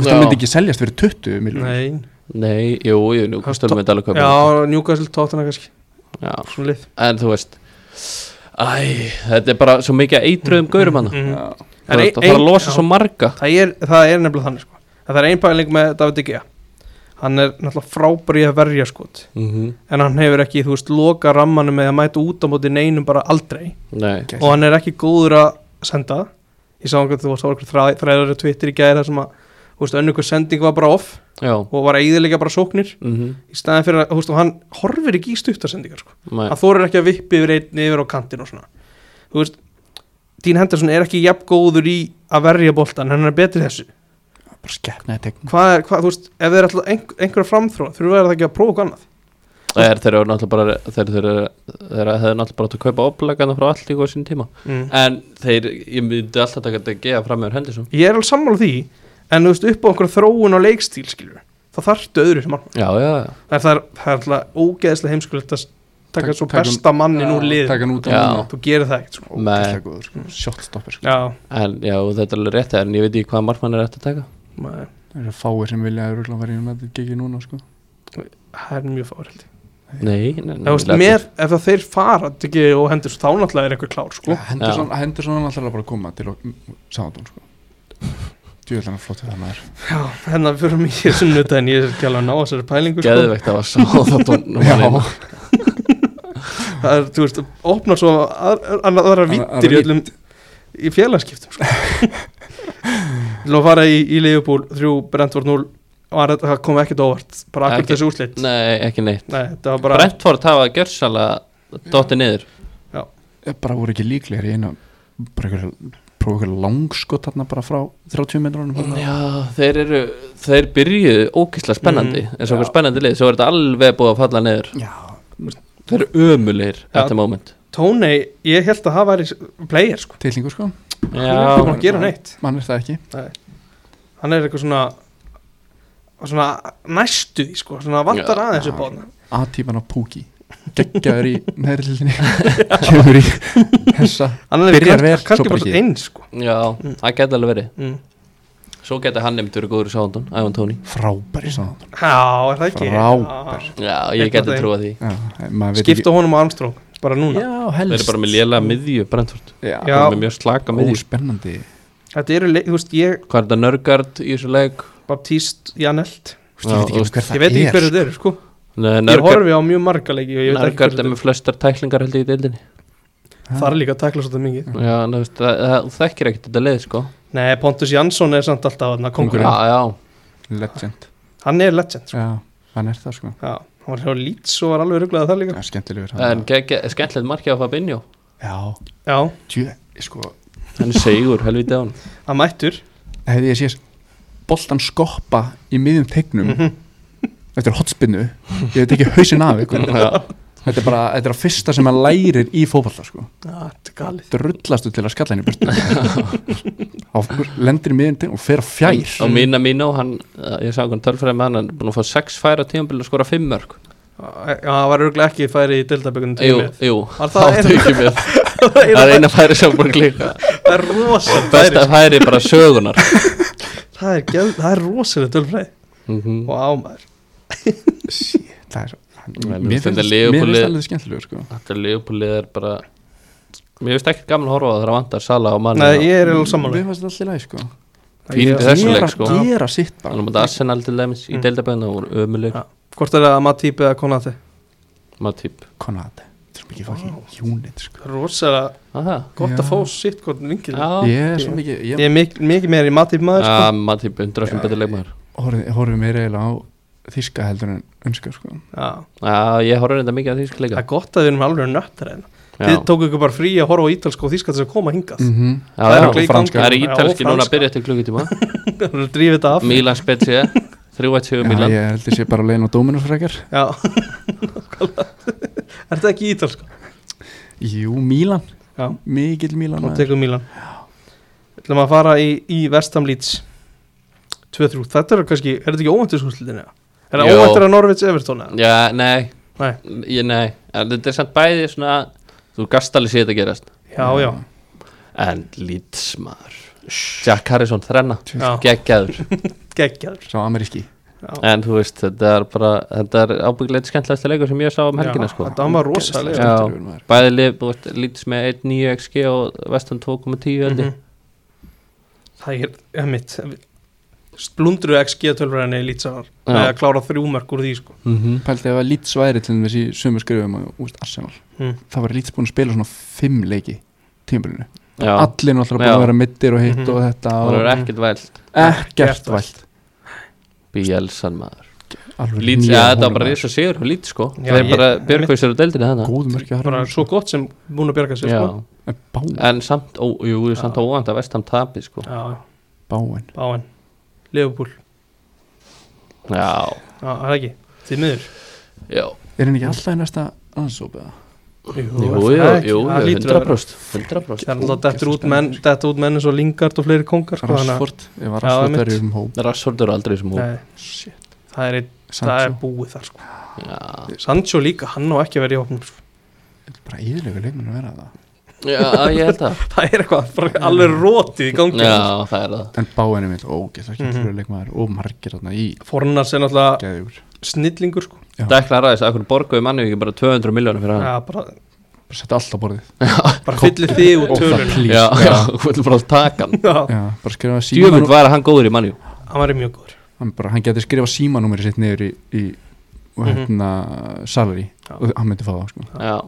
það myndi ekki seljast fyrir 20 miljón
nei
nei, jú, jú, nú stölum við þetta alveg kaupa hann.
Já, Newcastle tóttana kannski
Já.
Svona lið
En þú veist Æ, þetta er bara svo mikið eitruðum gaurum hann
Mhm.
Það
En
er
ein-
að fara að
ein-
losa
já.
svo marga
það er, það er nefnilega þannig sko. að það er ein pæling með David Igea hann er náttúrulega frábær í að verja skot en hann hefur ekki, þú veist, loka rammanum með að mæta út á móti neinum bara aldrei
Nei,
og hann er ekki góður að senda ég sá einhvern, þú veist, þá var einhver þræðar og Twitter í gæðir þar sem að, þú veist, önnur hver sending var bara off
já
og var eiginlega bara sóknir
mhm,
í staðin fyrir að, þú veist, og hann horfir ekki í stuttasendingar sko.
nei.
hann þorir ekki að vippi yfir einn yfir á kantin og svona þú veist, Dean Henderson er ekki jafn góður í að verja boltan, hann er betri í þessu
bara skeppnaði tegn
hvað er, hvað, þú veist, ef þeir er alltaf einhver, einhverja framþróa, þurfa þeir ekki að prófa eitthvað annað
Það er þeirra voru náttúrulega bara Þeir, þeir, þeir hefðu náttúrulega bara átt að kaupa oplækana frá allt líka á sín tíma
mm.
En þeir, ég myndi alltaf taka þetta að geða fram meður Henderson
ég er alveg sammála því, en þú veist, upp á einhverja þróun og leikstíl, skilur þá þarftu öðru sem mann,
Já, já,
það er, það er, það er alltaf ógeðslega heimskulegt að taka
Tak-
svo
taka-
besta mannin úr lið
taka hann út af
um- Já. um-
honum.
þú gerir það ekkert, sko
Nei. Mm.
Ógeðslega góður, sko. shotstopper sko.
já,
en já, þetta er alveg rétt En ég veit ekki hvað markmann er eftir að taka
maður,
það eru fáir sem vilja að rúla verið með þetta gigi núna sko.
það er mjög fárhildi
Nei, nei, nei
þú veist,
lætur.
mér, ef það þeir fara ekki, og hendur svo, þá náttúrulega er eitthvað klár, sko
Henderson Henderson er alltaf bara að koma til sáðun sko. djúðlega flott við það maður
já, hennar fyrir mikið sunnuta en ég er ekki alveg að ná þessari pælingu, sko
Geðveikt að var [laughs] sáðatón
Já.
það er, þú veist, opnar svo að- að- aðra vittir í
aðra
öllum í félagskiptum sko. Þú að fara í, í Leifupúl 3, Brentford 0 var þetta, það kom ekkert óvart bara akkur
Ekki.
þessi úslit Nei,
Nei, ekki neitt
þetta var bara
Brentford hafa gjörsalega Dotti niður
Ég bara voru ekki líklegir í einu bara einhverja prófa einhverja langskot þarna bara frá 30 metrunum
Já, þeir eru, þeir byrjuðu ókysla spennandi,
Mhm.
eins og okkur spennandi lið svo er þetta alveg búið að falla niður
Já,
þeir eru ömulegir
Já.
þetta moment
Tónei, ég held að það væri player sko,
tilningu sko,
hann er ekki búin
Já,
að gera neitt
mann er það ekki
hann er eitthvað svona svona næstu því sko, svona vantar
Já.
aðeins upp á hann
A-típan á Púki geggjaður í nærlilinni kemur í hessa
hann er
Byrjar vel,
kannski, kannski
svo
bara
bara
svona
ekki.
eins sko
já það geti alveg verið
mm.
svo geti hann nefnt verið góður í sándun, Ævan Tóni
frábæri sáðan
Já, er það ekki?
Frábær.
Já, ég
Einn af
geti
þeim.
trúa því
Skipta honum á Armstrong, bara núna
Já,
þeir
helst
eru bara með lélega miðju Brentford
Já,
Já.
þeir eru með mjög slaka
Ó,
miðju
spennandi
Þetta eru, leik- þú veist, ég,
hvað er þetta Nörgard í þessu leik
Baptiste, Janelt
Vist, ég veit ekki
Já,
hver
Ég veit
það
ekki
er
hverju þetta eru, sko
Nei,
Ég
Nörgard,
horfi á mjög marga leiki og ég veit ekki hverju
Nörgard er
þetta
með flestar tæklingar held ég í deildinni
eru Það er líka að takla svolítið mikið
já, þú veist, það- það þú þekkir ekkert þetta lið sko
Nei, Pontus Jansson er samt alltaf hann
já,
kongurinn
já,
Legend
Hann er legend, sko
Já, hann er það sko
Já, hann var hjá Leeds og var alveg rugglaðið það líka
Já, skemmtilegur
en
hann.
gegg- skemmtilegt markið á Fabinho
Já,
Já,
tjú, sko
hann er [laughs] segur, helvítið á hann
hann mættur
hefði ég sést boltan skoppa í miðjum tegnum eftir hotspinnu ég veit ekki hausinn af ykkur þetta er bara, þetta er að fyrsta sem maður lærir í fótballa sko,
Já, þetta er galið
drullastu til að skalla henni burtu á lendir í miðjum tegnum og fer á fjær
og Mina Mino, hann, eh, ég sá hann tölfræði með hann hann er búin að fá sex færa tímambil og skora fimm mörg
Já, hann var rugglega ekki færi í Deltabökunum
jú, jú,
Var
þá [laughs]
það eina-
tökjum við það er eina færi sem búin að klika
[laughs] Það er rosa
besta færi bara sögunar
Það er, geð- það er rosalega tölfræði
Mhm.
Og ámaður
það er
Vel,
mér
þetta
finnst
Liverpool-
mér finnst það alveg skemmtilegur sko
þetta Leopoldið er bara Mér finnst ekkert gaman að horfa á það þegar vantar Sala og manni
Nei, ég er alveg sammála
Við fannst alltaf læg sko
Fín-
Ég-
þessu
Gera-
leik, sko.
Gera sitt bara
Þannig að Arsenal til dæmis í
Mm.
deildabæðina voru ömuleg
Ja. Hvort er það Matip eða Konati?
Matip
Konate Það er svo mikið fucking unit sko
Rósalega
Aha
gott að
Já.
fá sitt hvort vinkil
Já
Ég er svo mikið
Ég
Ég
er mik mikið meira í Matip maður
Já,
sko.
Matip undra sem
Já,
betur
ég-
leikmaður
horfi, horfi mér eiginlega á Þíska heldur en önska sko
Já.
Já, ég horfði þetta mikið að því
Það
skleika
er gott að við erum alveg nöttar en Þið
Já,
tóku ykkur bara frí að horfa á ítalsk og þýskat þess að koma hingað [laughs]
mm -hmm.
já,
það
já.
eru leik-
franska.
Það er
Já,
ítalski
franska.
núna að byrja eftir klukkutíma
Það er að drífa þetta af
Milan Spezia 3-1
Já,
Um Milan
ég held ég sé bara leiðin á Dominus frekar
Já [laughs] Er þetta ekki ítalsk?
Jú, Mílan
Já.
Mikill Mílan
Nú
maður.
tekum Milan Við ætlum að fara í, í Vestam Leeds 2-3 Þetta er kannski, er þetta ekki óvæntur skúrslutinni? Er það
Jó.
óvæntur að Norvids Evertón? eða?
Já, nei
Nei.
Ég, nei En þetta er samt bæði svona Þú gast alveg séð þetta gerast
Já, já
En Leeds maður Jack Harrison þrenna
Já.
Geggjaður
Geggjaður
Sá ameríski
Já.
En þú veist, þetta er bara Þetta er ábyggilegt skemmtilegasta leikur sem ég sá um helgina sko.
Þetta var rosalega
Já.
Skemmtilegur maður.
Bæði lið, þú veist, Leeds með 1.9 XG og Veston 2.10 held ég.
Mhm. Það er, eða mitt Splundru XG tölvræðinni í Lítsavar
Já.
með að klára þrjú mörg úr því sko.
Pældi ef að Leeds væri til þess í sömu skrifum og úst Arsenal
Mm.
Það var Leeds búin að spila svona fimm leiki tímabilinu
Já,
Allir náttúrulega búin
Já.
að vera middir og hitt
Mhm.
og þetta
það
og
voru ekkert vælt
ekkert
Ekkert
vælt
Bielsan maður
Alveg
Leeds,
mjög
ja, þetta var
hólum
bara
maður.
risa sigur og Leeds sko
Já,
Þeir
ég-
bara björgveið sér úr deildinni þannig
Góð mörki að
bara
harfa
svo gott sem búin að bjarga sér
Já,
sko.
En bá,
en samt, ó, jú,
Já.
samt óvænt að Vestham tapi sko
Já,
báin
báinn Leopold,
Já,
já, það er ekki Þið miður
já,
Er henni ekki alltaf í næsta landsópa?
jú,
er
jú,
það ekki?
jú,
Það lítur að vera.
100% 100%
Það er alltaf dettur út menn Dettur út menn eins og Lingard og fleiri kongar sko, þannig að-
Rashford Ég var
Já,
Rashford
einmitt.
verið um hóp
Rasshold eru aldrei sem hún
Nei,
Shit
Það er, einn- það er
Sancho
búið þar sko.
Já,
Sancho líka, hann á ekki að vera í hópnum sko. [laughs]
Bara íðlega leikmenn að vera það
já, ég held að
Það er eitthvað, bara alveg rótið í gangi
[laughs] Já, það er það
En báin er mitt ógætt ekki
Mhm.
mm -hmm. leikmaður og margir þarna í
Fornars er náttúrulega
geðugur
snillingur sko.
Dekla ræðis, akkur borguði manni ekki bara 200 miljónum fyrir hann
Já, bara,
Bara setja allt á borðið
bara fyllir þig út
Og það
tölun
plís
Já, já, þú ætlum bara að taka hann
[laughs] Já,
Já, bara skrifa
Djöfull
símanúmer
var hann góður í manni
hann var mjög góður
hann, bara, hann geti skrifa símanúmeri sitt niður í, í
Mhm.
og hérna salari
Já.
og hann myndi fá það sko.
Já,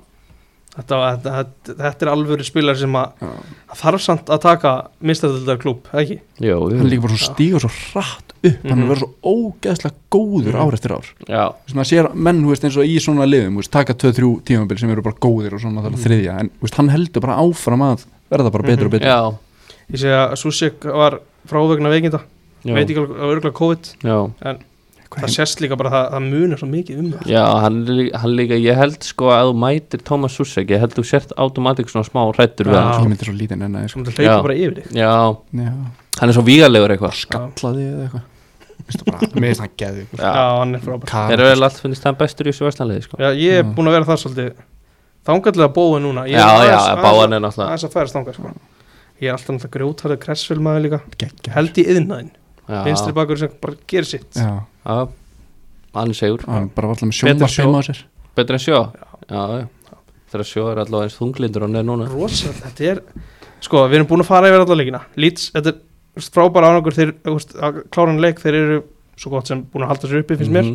Þetta, var- þetta, þetta, þetta er alvöru spilar sem að
Já.
að þarf samt að taka mistadöldar klúb, ekki?
jú,
hann
jú
líka bara svo stígur svo hratt upp hann
Mhm.
er verið svo ógeðslega góður
Mhm.
ár eftir ár
Já,
Þú veist, maður sér menn þú veist, eins og í svona liðum þú veist, taka 2-3 tímabil sem eru bara góðir og svona þarna
Mhm.
þriðja en þú veist, hann heldur bara áfram að verða bara betur og betur
já,
Ég segi að Susek var frávegna veikinda, veit
já,
ekki alveg örgulega COVID
já.
Hvað
það
heim-
sést líka bara að það, það munar svo mikið um það
Já, hann, lí- hann líka, ég held sko að þú mætir Thomas Susek, ég held þú sért automatik svona smá hrættur við
Já.
hann
ég myndi svo lítið en það
sem það hleypa
Já.
bara yfir þig
Já,
Já,
hann er svo vígalegur eitthvað sko.
gallaði eða eitthvað Mér finnst það bara- Mér finnst hann geðið
Já,
Já,
hann er frábær
þeir eru vel allt finnist hann bestur í þessu vestanliði sko
Já, ég er
Já.
búin að vera það svolítið þangallega bóið núna Ég er
Já, já,
aðeins-
báan
aðeins-
er náttúrulega
aðeins að færa stanga, sko Ég er alltaf náttúrulega grjótarðið kressfilmaði líka
geggja
held í yðnaðin,
Já.
vinstri bakur sem bara gerir sitt
Já,
Já, hann er segur
hann bara var alltaf með
Betra
sjóma sjóma á
sjó.
sér
Betur en sjó Já, já Þegar sjó er allavega eins þunglindur hann er núna
rosalega, þetta er sko, við erum búin að fara yfir alla leikina Leeds, þetta er þú veist, frábæra árangur þeir, þú veist, að klára hann leik, þeir eru svo gott sem búin að halda sér uppi, finnst mér
Mhm.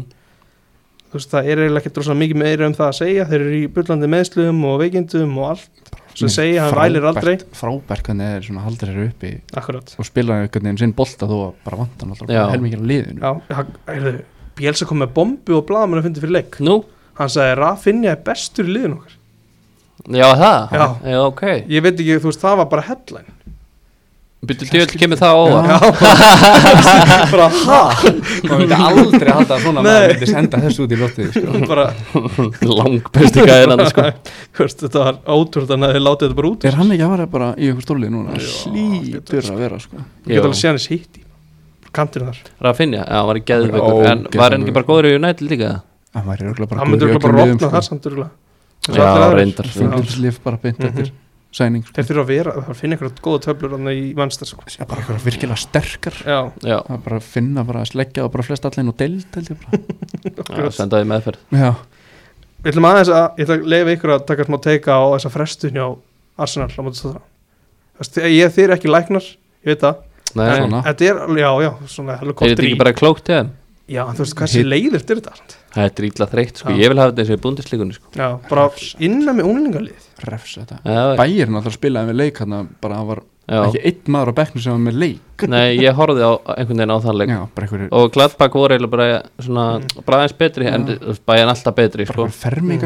þú veist, það er eiginlega ekki droslega mikið meira um það að segja þeir eru í bullandi meðslum og veikindum og allt svo
Mér
segja, hann
Mm, frábært-
vælir aldrei
Frábært hvernig þeir svona haldir þeir uppi
akkurat,
og spila einhvern veginn sinn bolta þó að bara vanta hann
Já.
alltaf helmingir á liðinu
já, hann- heyrðu, Bielsa kom með bombu og blaðamenn að fyndi fyrir leik
Nú,
hann sagði, Rafinha er bestur í liðin okkar
já það
Já.
já ok
ég veit ekki, þú veist, það var bara headline
Byttu djöfull kemur það á óvart
já, bara, bara ha
Maður myndi aldrei halda að svona
Nei.
maður myndi senda þessu út í loftið sko.
bara,
Lang bestu gæðin hann sko
þú veist, þetta var ótrúld að þið látið þetta bara út
Er hann ekki að vera bara í einhver stólið núna?
Já,
Hlýtur að vera sko
Ég get
Jú.
alveg séð hann í City Kantinu þar
Rafinha, já, hann var í geðveikur
Ó,
En var hann
geðveikur.
ekki bara góður í United líka?
Hann væri örgulega bara
Hann myndi
góður í
örugglega bara
öllum liðum,
rofna
sko.
þar samt örgulega
Já, reyndar.
Fingers live bara beint
Mhm.
eftir sæning sko.
Þeir þurfa að vera Það finna eitthvað góða töflur Þannig í venstar sko.
Já, bara eitthvað virkilega sterkar
Já,
Já,
Það er bara að finna bara að sleggja og bara flest allir og deild held ég bara
já, sendaði meðferð
Já,
Við ætlum aðeins að Ég ætla að leifa ykkur að taka smá teika á þessa frestun hjá Arsenal á móti Tottenham. Þú veist, ég þeir ekki læknar, ég veit það
Nei,
Svona.
Þetta er, alveg- já, já, svona helgur
er þetta
kortir í
ekki bara klókt eða?
Já, en þú veist, hversi
Hitt-
leiðir til þetta samt?
Það er drýla þreytt, sko,
Já.
ég vil hafa þetta eins og í búndislíkunni, sko
Já, bara innan með unglingarlið
refs þetta
Já,
Bæirinn alltaf spilaði með leik hann bara það var
já,
ekki einn maður á bekknum sem var með leik
nei, ég horfði á einhvern veginn á þann leik
já, bara einhverju
Og Gladbach voru eiginlega bara, svona, bara aðeins betri, en
Já.
bæjan alltaf betri,
bara
sko
einhverju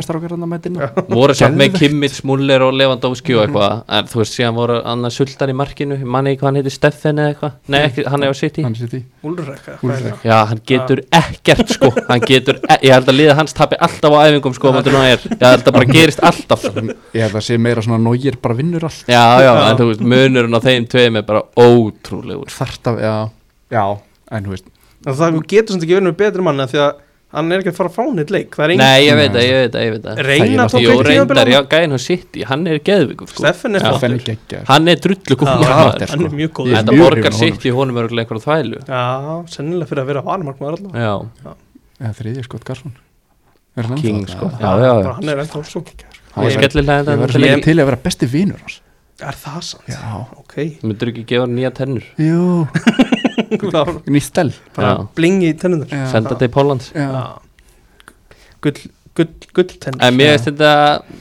fermingastrákar hann að mætina
Voru samt með
Geðveikt.
Kimmich, Muller og Lewandowski og eitthvað En þú veist, síðan voru annað sultan í markinu, ég manni ekki hvað hann heiti Steffen eða eitthvað Nei, ekki, hann er á City
hann sér því
Úlrekka, hvað er
Úlrik.
það?
Já, hann getur ekkert sko Hann getur, e ég held að liða hans tapi alltaf á æfingum sko Máttu nú er, ég held að bara gerist alltaf Já,
ég held að sé meira svona nógir bara vinnur allt
já,
Já.
en þú veist, munurinn á þeim tveim er bara ótrúlegur
þart af, já, já en þú veist,
En það þú getur samt ekki verið með betri mann af Því að hann er ekki að fara frá nýtt leik Það er engin
Nei, ég veit það, ég veit það, ég veit það
reyna
Það
tók
er
Jó,
ekki
reyndar, já,
tíma
gæðin á City, hann er geðvikur sko
Steffen er
Já.
það fenni
flottur
geggja
Hann er drullu
Já,
góð
er,
Hann er
sko.
mjög góð
Ég er
Þetta
mjög
borgar
hrifinn af honum,
City honum örgulega einhverjum þvælu
Já, sennilega fyrir að vera vanmarkmaður allavega
Já,
eða þriðið skott Garson er hann
King
ennþá?
sko Já, já,
Bara
já
Hann er ennþá svo kikkar
Hann
Ég
var-
skellilega
ég var
þetta
svo
Þú
mikið til í að vera besti vinnur hans
Er það sant?
já,
Ok,
myndur ekki gefa hann nýja tennur
jú,
það var
nýtt stel
bara
Já.
blingi í tennunar
Já.
Senda til Pólland
já,
Gull, gull, gull tennur
En mér veist þetta,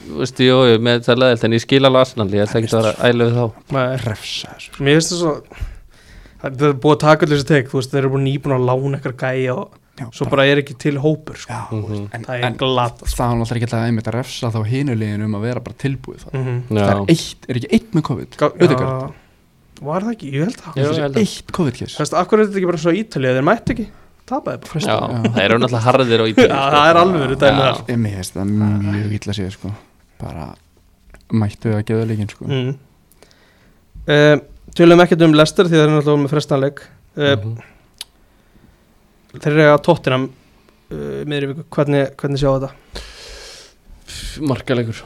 þú veist, jú, jú, mér veist það leðilt En ég skil alveg Arsenal, ég ætla ekki að vera ælu við þá
Nei,
refsa þessu
Mér finnst það svo Það það er búið að taka allir þessi tek Þú veist, þeir eru búin nýbúin að lána eitthvað gæja og
já,
svo bara er ekki til hópur sko.
já,
Mhm.
en,
Það er
en
glata
það var alltaf ekki að einmitt að refsa þá hinulegin um að vera bara tilbúið það
mm
það er eitt, er ekki eitt með COVID auðvitað
Var það ekki? Ég held það
Jú,
Þú
ég held að-
eitt COVID-kess
veist, akkur er þetta ekki bara svo ítalið Þeir mætti ekki, tapaði bara
Já,
Já.
það eru náttúrulega harðir á sko. íbyrði
Já, það er alveg verið dæmið
Já.
þar
Ég mér finnst það mjög illa séð sko bara mættu að gefa líkin sko
mm. uh, Tölum ekkert um Lester því það er náttúrulega með frestanleik uh,
Mhm.
Mhm.
Þeir eru að tóttina uh, miðri viku, hvernig, hvernig sjá þetta?
Markalegur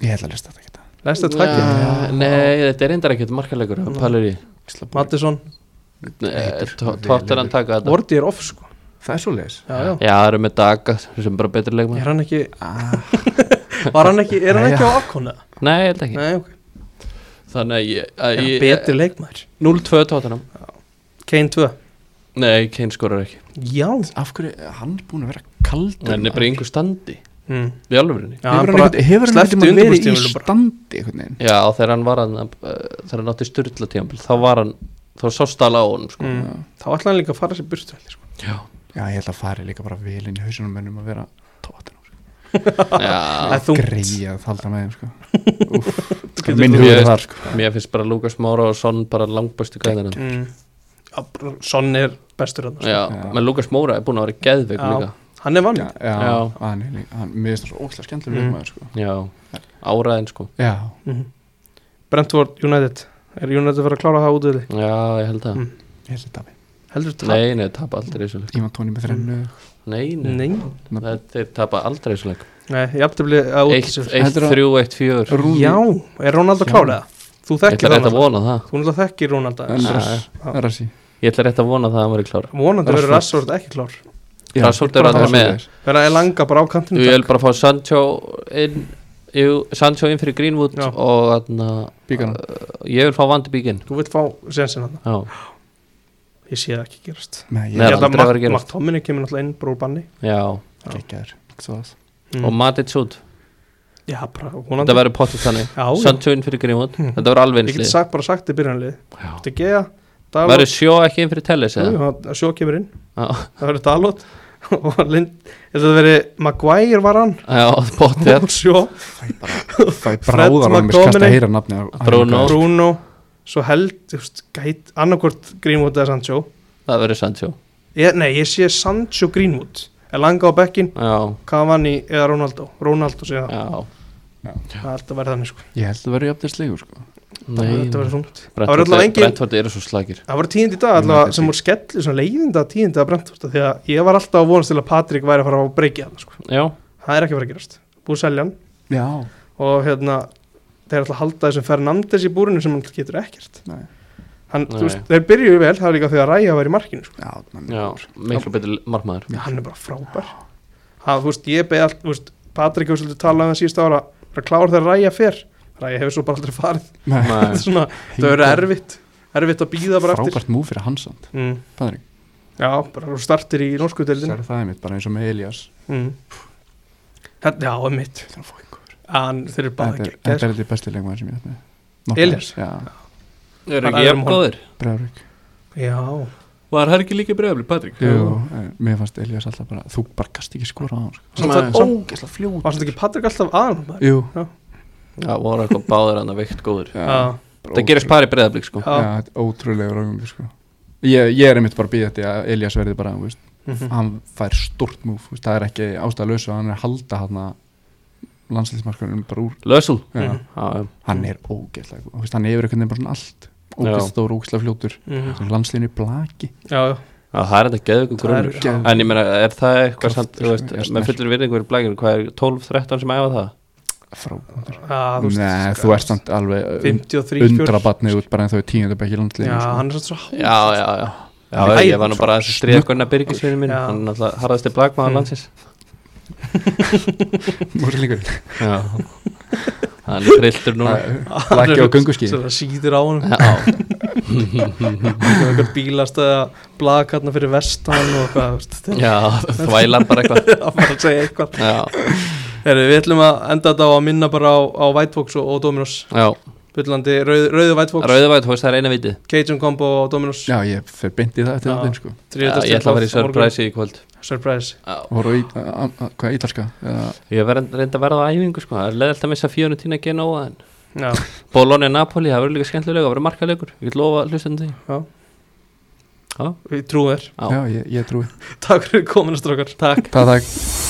Ég ætla að lista þetta ekki
Lester takkja,
Já.
Nei, þetta er reyndar ekkert markalegur
Nei.
Palur í
Mattisson,
Tottenham taka þetta
Vorti er off sko
Það er svo leis
Já, já,
Já, það eru með Daga sem bara betri
er
leikmann
hann ekki,
ah,
var hann ekki, er hann
Nei,
ekki á afkona?
Nei, ég held ekki
Nei, ok,
Þannig að ég- að
er hann
ég
betri leikmaður?
0-2 Tottenham
Kane 2
Nei, Kane skorar ekki
Já
Af hverju, hann er búin að vera kaldur
Hann er bara í yngur standi
mm.
Í alvörinni
Já, hann
Hefur hann
bara
einhvern- hefur hann
sleppti
ekkert um að vera í
undirbúningstímabilinu bara.
standi einhvern veginn
Já, þegar hann var hann Þegar hann átti styrla tíambil Þá var hann Þá sást alveg á honum sko.
mm. Þá ætlaði hann líka að fara sér burt veldi, sko.
Já,
Já, ég held að fari líka bara vel inn í hausunum mennum að vera tóttin
Það
já
er þungt
Ah, Greið að halda með þeim sko
Þú getur-
Minn
hugur
hugur
er
þar sko
Mér finnst bara Lucas Moura og Son bara langbæstu gæðina
mm. Já, bara, Son er bestur hann,
Já,
Já.
menn Lucas Moura er búin að vera geðveik
Já.
líka
hann er vann
Já,
já.
já,
Já.
hann er líka hann- Mér finnst það svo óslega skemmtilega
Mm.
mm. maður sko
Já, áraðin sko
Já,
Mm. Brentford United Er United verið að klára það út við því?
Já, ég held það
Mm.
ég held þetta við
Heldur tap
Nei, nei, tapa aldrei þessu leik
Ívan Tóni með þrennu
Nei,
Nei,
nei, Það, þeir tapa aldrei þessu leik
Nei ég aftur blið að út þessu.
1-3-1-4
Rúni-
Já, er Ronald að
Já.
klára það? Þú
Ég ætla
þekkir
rétt
hann
að vona það
Þú náttúrulega þekkir Ronald að
En
Já,
Rass-
já.
Rassi
Ég ætla rétt að vona það að hann veri klár
Vonandi verður
Rashford.
Rashford ekki klár
Já,
Rashford er
bara
aldrei
það
með.
svoleiðis.
Verða að langa bara á kantinu
Ég vil bara fá Sancho inn Jú, Sancho inn fyrir Greenwood
Já.
og þarna eh,
Bíkan
Ég vil fá Vandi Bíkin
Þú vilt fá sensin hann
Já,
Ég sé það ekki gerast
Nei,
Nei,
Ég
ég
held
aldrei
að
að vera að
Matt,
gerast.
Matt Tomini kemur náttúrulega inn brúr banni
já
Já.
geggjaður Svo það
mm.
Og Matic út
Já, bara vonandi
Þetta verður potið þannig
Já, já.
Sancho inn fyrir Greenwood
Mm.
Þetta verður alveg
ég get
einslið
sagt, bara sagt í byrjanlið Þetta er Gea,
Verður
Dalot
sjó ekki inn fyrir Tellis eða?
Jú, Sjó kemur inn,
Já,
það verður Dalot [laughs] og Lind, ég held að það veri Maguire var hann
já, potið
og [laughs] Sjó,
Það er
Fred
bráðar á mig skast
McTominay.
að heyra nafni á- á-
Bruno.
á-
Bruno svo held, þú veist, gæt annarkvort Greenwood eða Sancho
Það verður Sancho
ég, Nei, ég sé Sancho Greenwood er langa á bekkin,
Já,
Cavani eða Ronaldo Ronaldo segja það,
já
það er alltaf verið þannig sko.
Ég held að vera jafnir sligur sko
Nei,
þetta
nei.
verður þungt Það verður
Brentford
allavega
er-
engin
Brentford eru svo slagir
Það voru tíðindi í dag allavega sem voru skellu svona leiðinda tíðindi að Brentford af því að ég var alltaf að vonast til að Patrik væri að fara að breyki hann sko.
Já,
það er ekki að fara að gerast búið að selja hann
Já
og hérna þeir ætla að halda þessum Fernandes í búrinu sem hann getur ekkert
Nei.
hann,
Nei.
þú veist, þeir byrjuðu vel, það er líka því að Ræja var í markinu sko.
Já, mann
já, miklu betur markmaður
hann er bara frábær það, þú veist, ég beði allt, þú veist Patrik hefur svolítið talað um það síðust ára bara kláður þegar Ræja fer þannig að ég hefur svo bara aldrei farið
Nei.
Þetta er [laughs] svona, það verður erfitt erfitt að býða bara eftir
frábært múf fyrir Hansand
mm.
Patrik,
já, bara þú startir í norsku deildin
sér það einmitt bara eins og með Elias
mm. þetta, já, er mitt
Þetta er fóking góður.
en þeir eru bara sko.
Þetta er-
geggjær.
þetta er þetta besti leikmaður sem ég hef með Nokkuð.
Elías?
Já,
Þeir
Bara
eru ekki
öðrum
jafn góðir
Breiðablik.
já,
Var það ekki líka bregðabli, Patrik?
Jú, en Mér fannst Elias alltaf bara Þú bara gast ekki skora á hann sko.
Samt-
Hann var
samt-
ógeðslega fljótur.
var þetta ekki Patrik alltaf aðan
Jú,
Já, voru eitthvað báðir hann að veikt góðir
já,
bara
Það gerist par í bregðablik sko
já,
Já, þetta er ótrúlega ráðungu sko. ég, ég er einmitt bara að býða þetta að Elias verði bara, þú veist,
mhm.
hann fær stort múf, veist, það er ekki ástæðalösu hann er að halda hann landslýsmarkunum bara úr
Lösul
já,
Mhm.
Já, já.
hann er ógeðslega góð, þú veist, hann yfir einhvern veginn bara svona allt ógeðslega stór, ógeðslega fljótur
Mhm.
landslýinu blaki
já, já,
Já, það er þetta geðugum
það er
grunnur
já,
En ég meina, er það eitthvað
Kraftur,
samt, þú veist,
sko, já,
með
snert.
fullir virðingur í blækjur, hvað er 12-13 sem æfa það?
frábæður
já, Ah, þú veist, sko,
Nei, þú ert samt alveg
53,
undrabatnið út bara en þau er tíundabæk í landslýinu
já,
sko. [laughs]
hann er samt svo hátt
Já, já, já. Já,
Hann er
ég var nú bara að stríða Gunnar Birgisvinni minn,
Já.
hann er alltaf harðasti blagmaður
Mm.
landsins.
Úrlingur.
Já. [laughs] Hann er trilltur núna.
blaki og gunguski
Svo sko, það síður á hann
Já,
eitthvað bílastæða blakaðna fyrir vestan og hvað, þú veist,
já, þvælar bara eitthvað.
það var að segja eitthvað
Já,
Heru, við ætlum að enda þetta á að minna bara á, á White Fox og, og Dominos
já.
Bullandi, rauð, rauðu White Fox,
Rauðavætt, þú veist, það er eina vitið.
Cajun Combo og Dominos
já, ég fer beint í það
Já.
eftir það sko.
Já,
þriðjudagskvöld
Ég ætla að vera í
á morgun.
surprise í kvöld.
Surprise
Já.
voru í, a- a- hvað, ítalska? Eða-
Ég hef reynda að verða á æfingu, sko. Það er leðilt að missa 400 tína Genoa, en
Já,
Bologna-Napoli, það verður líka skemmtilega, það verður markalegur. Ég vil lofa hlustandi því.
við trúum þér
Já.
[laughs]
Já, ég, ég trúi
Takk fyrir kominast okkar Takk
Takk, takk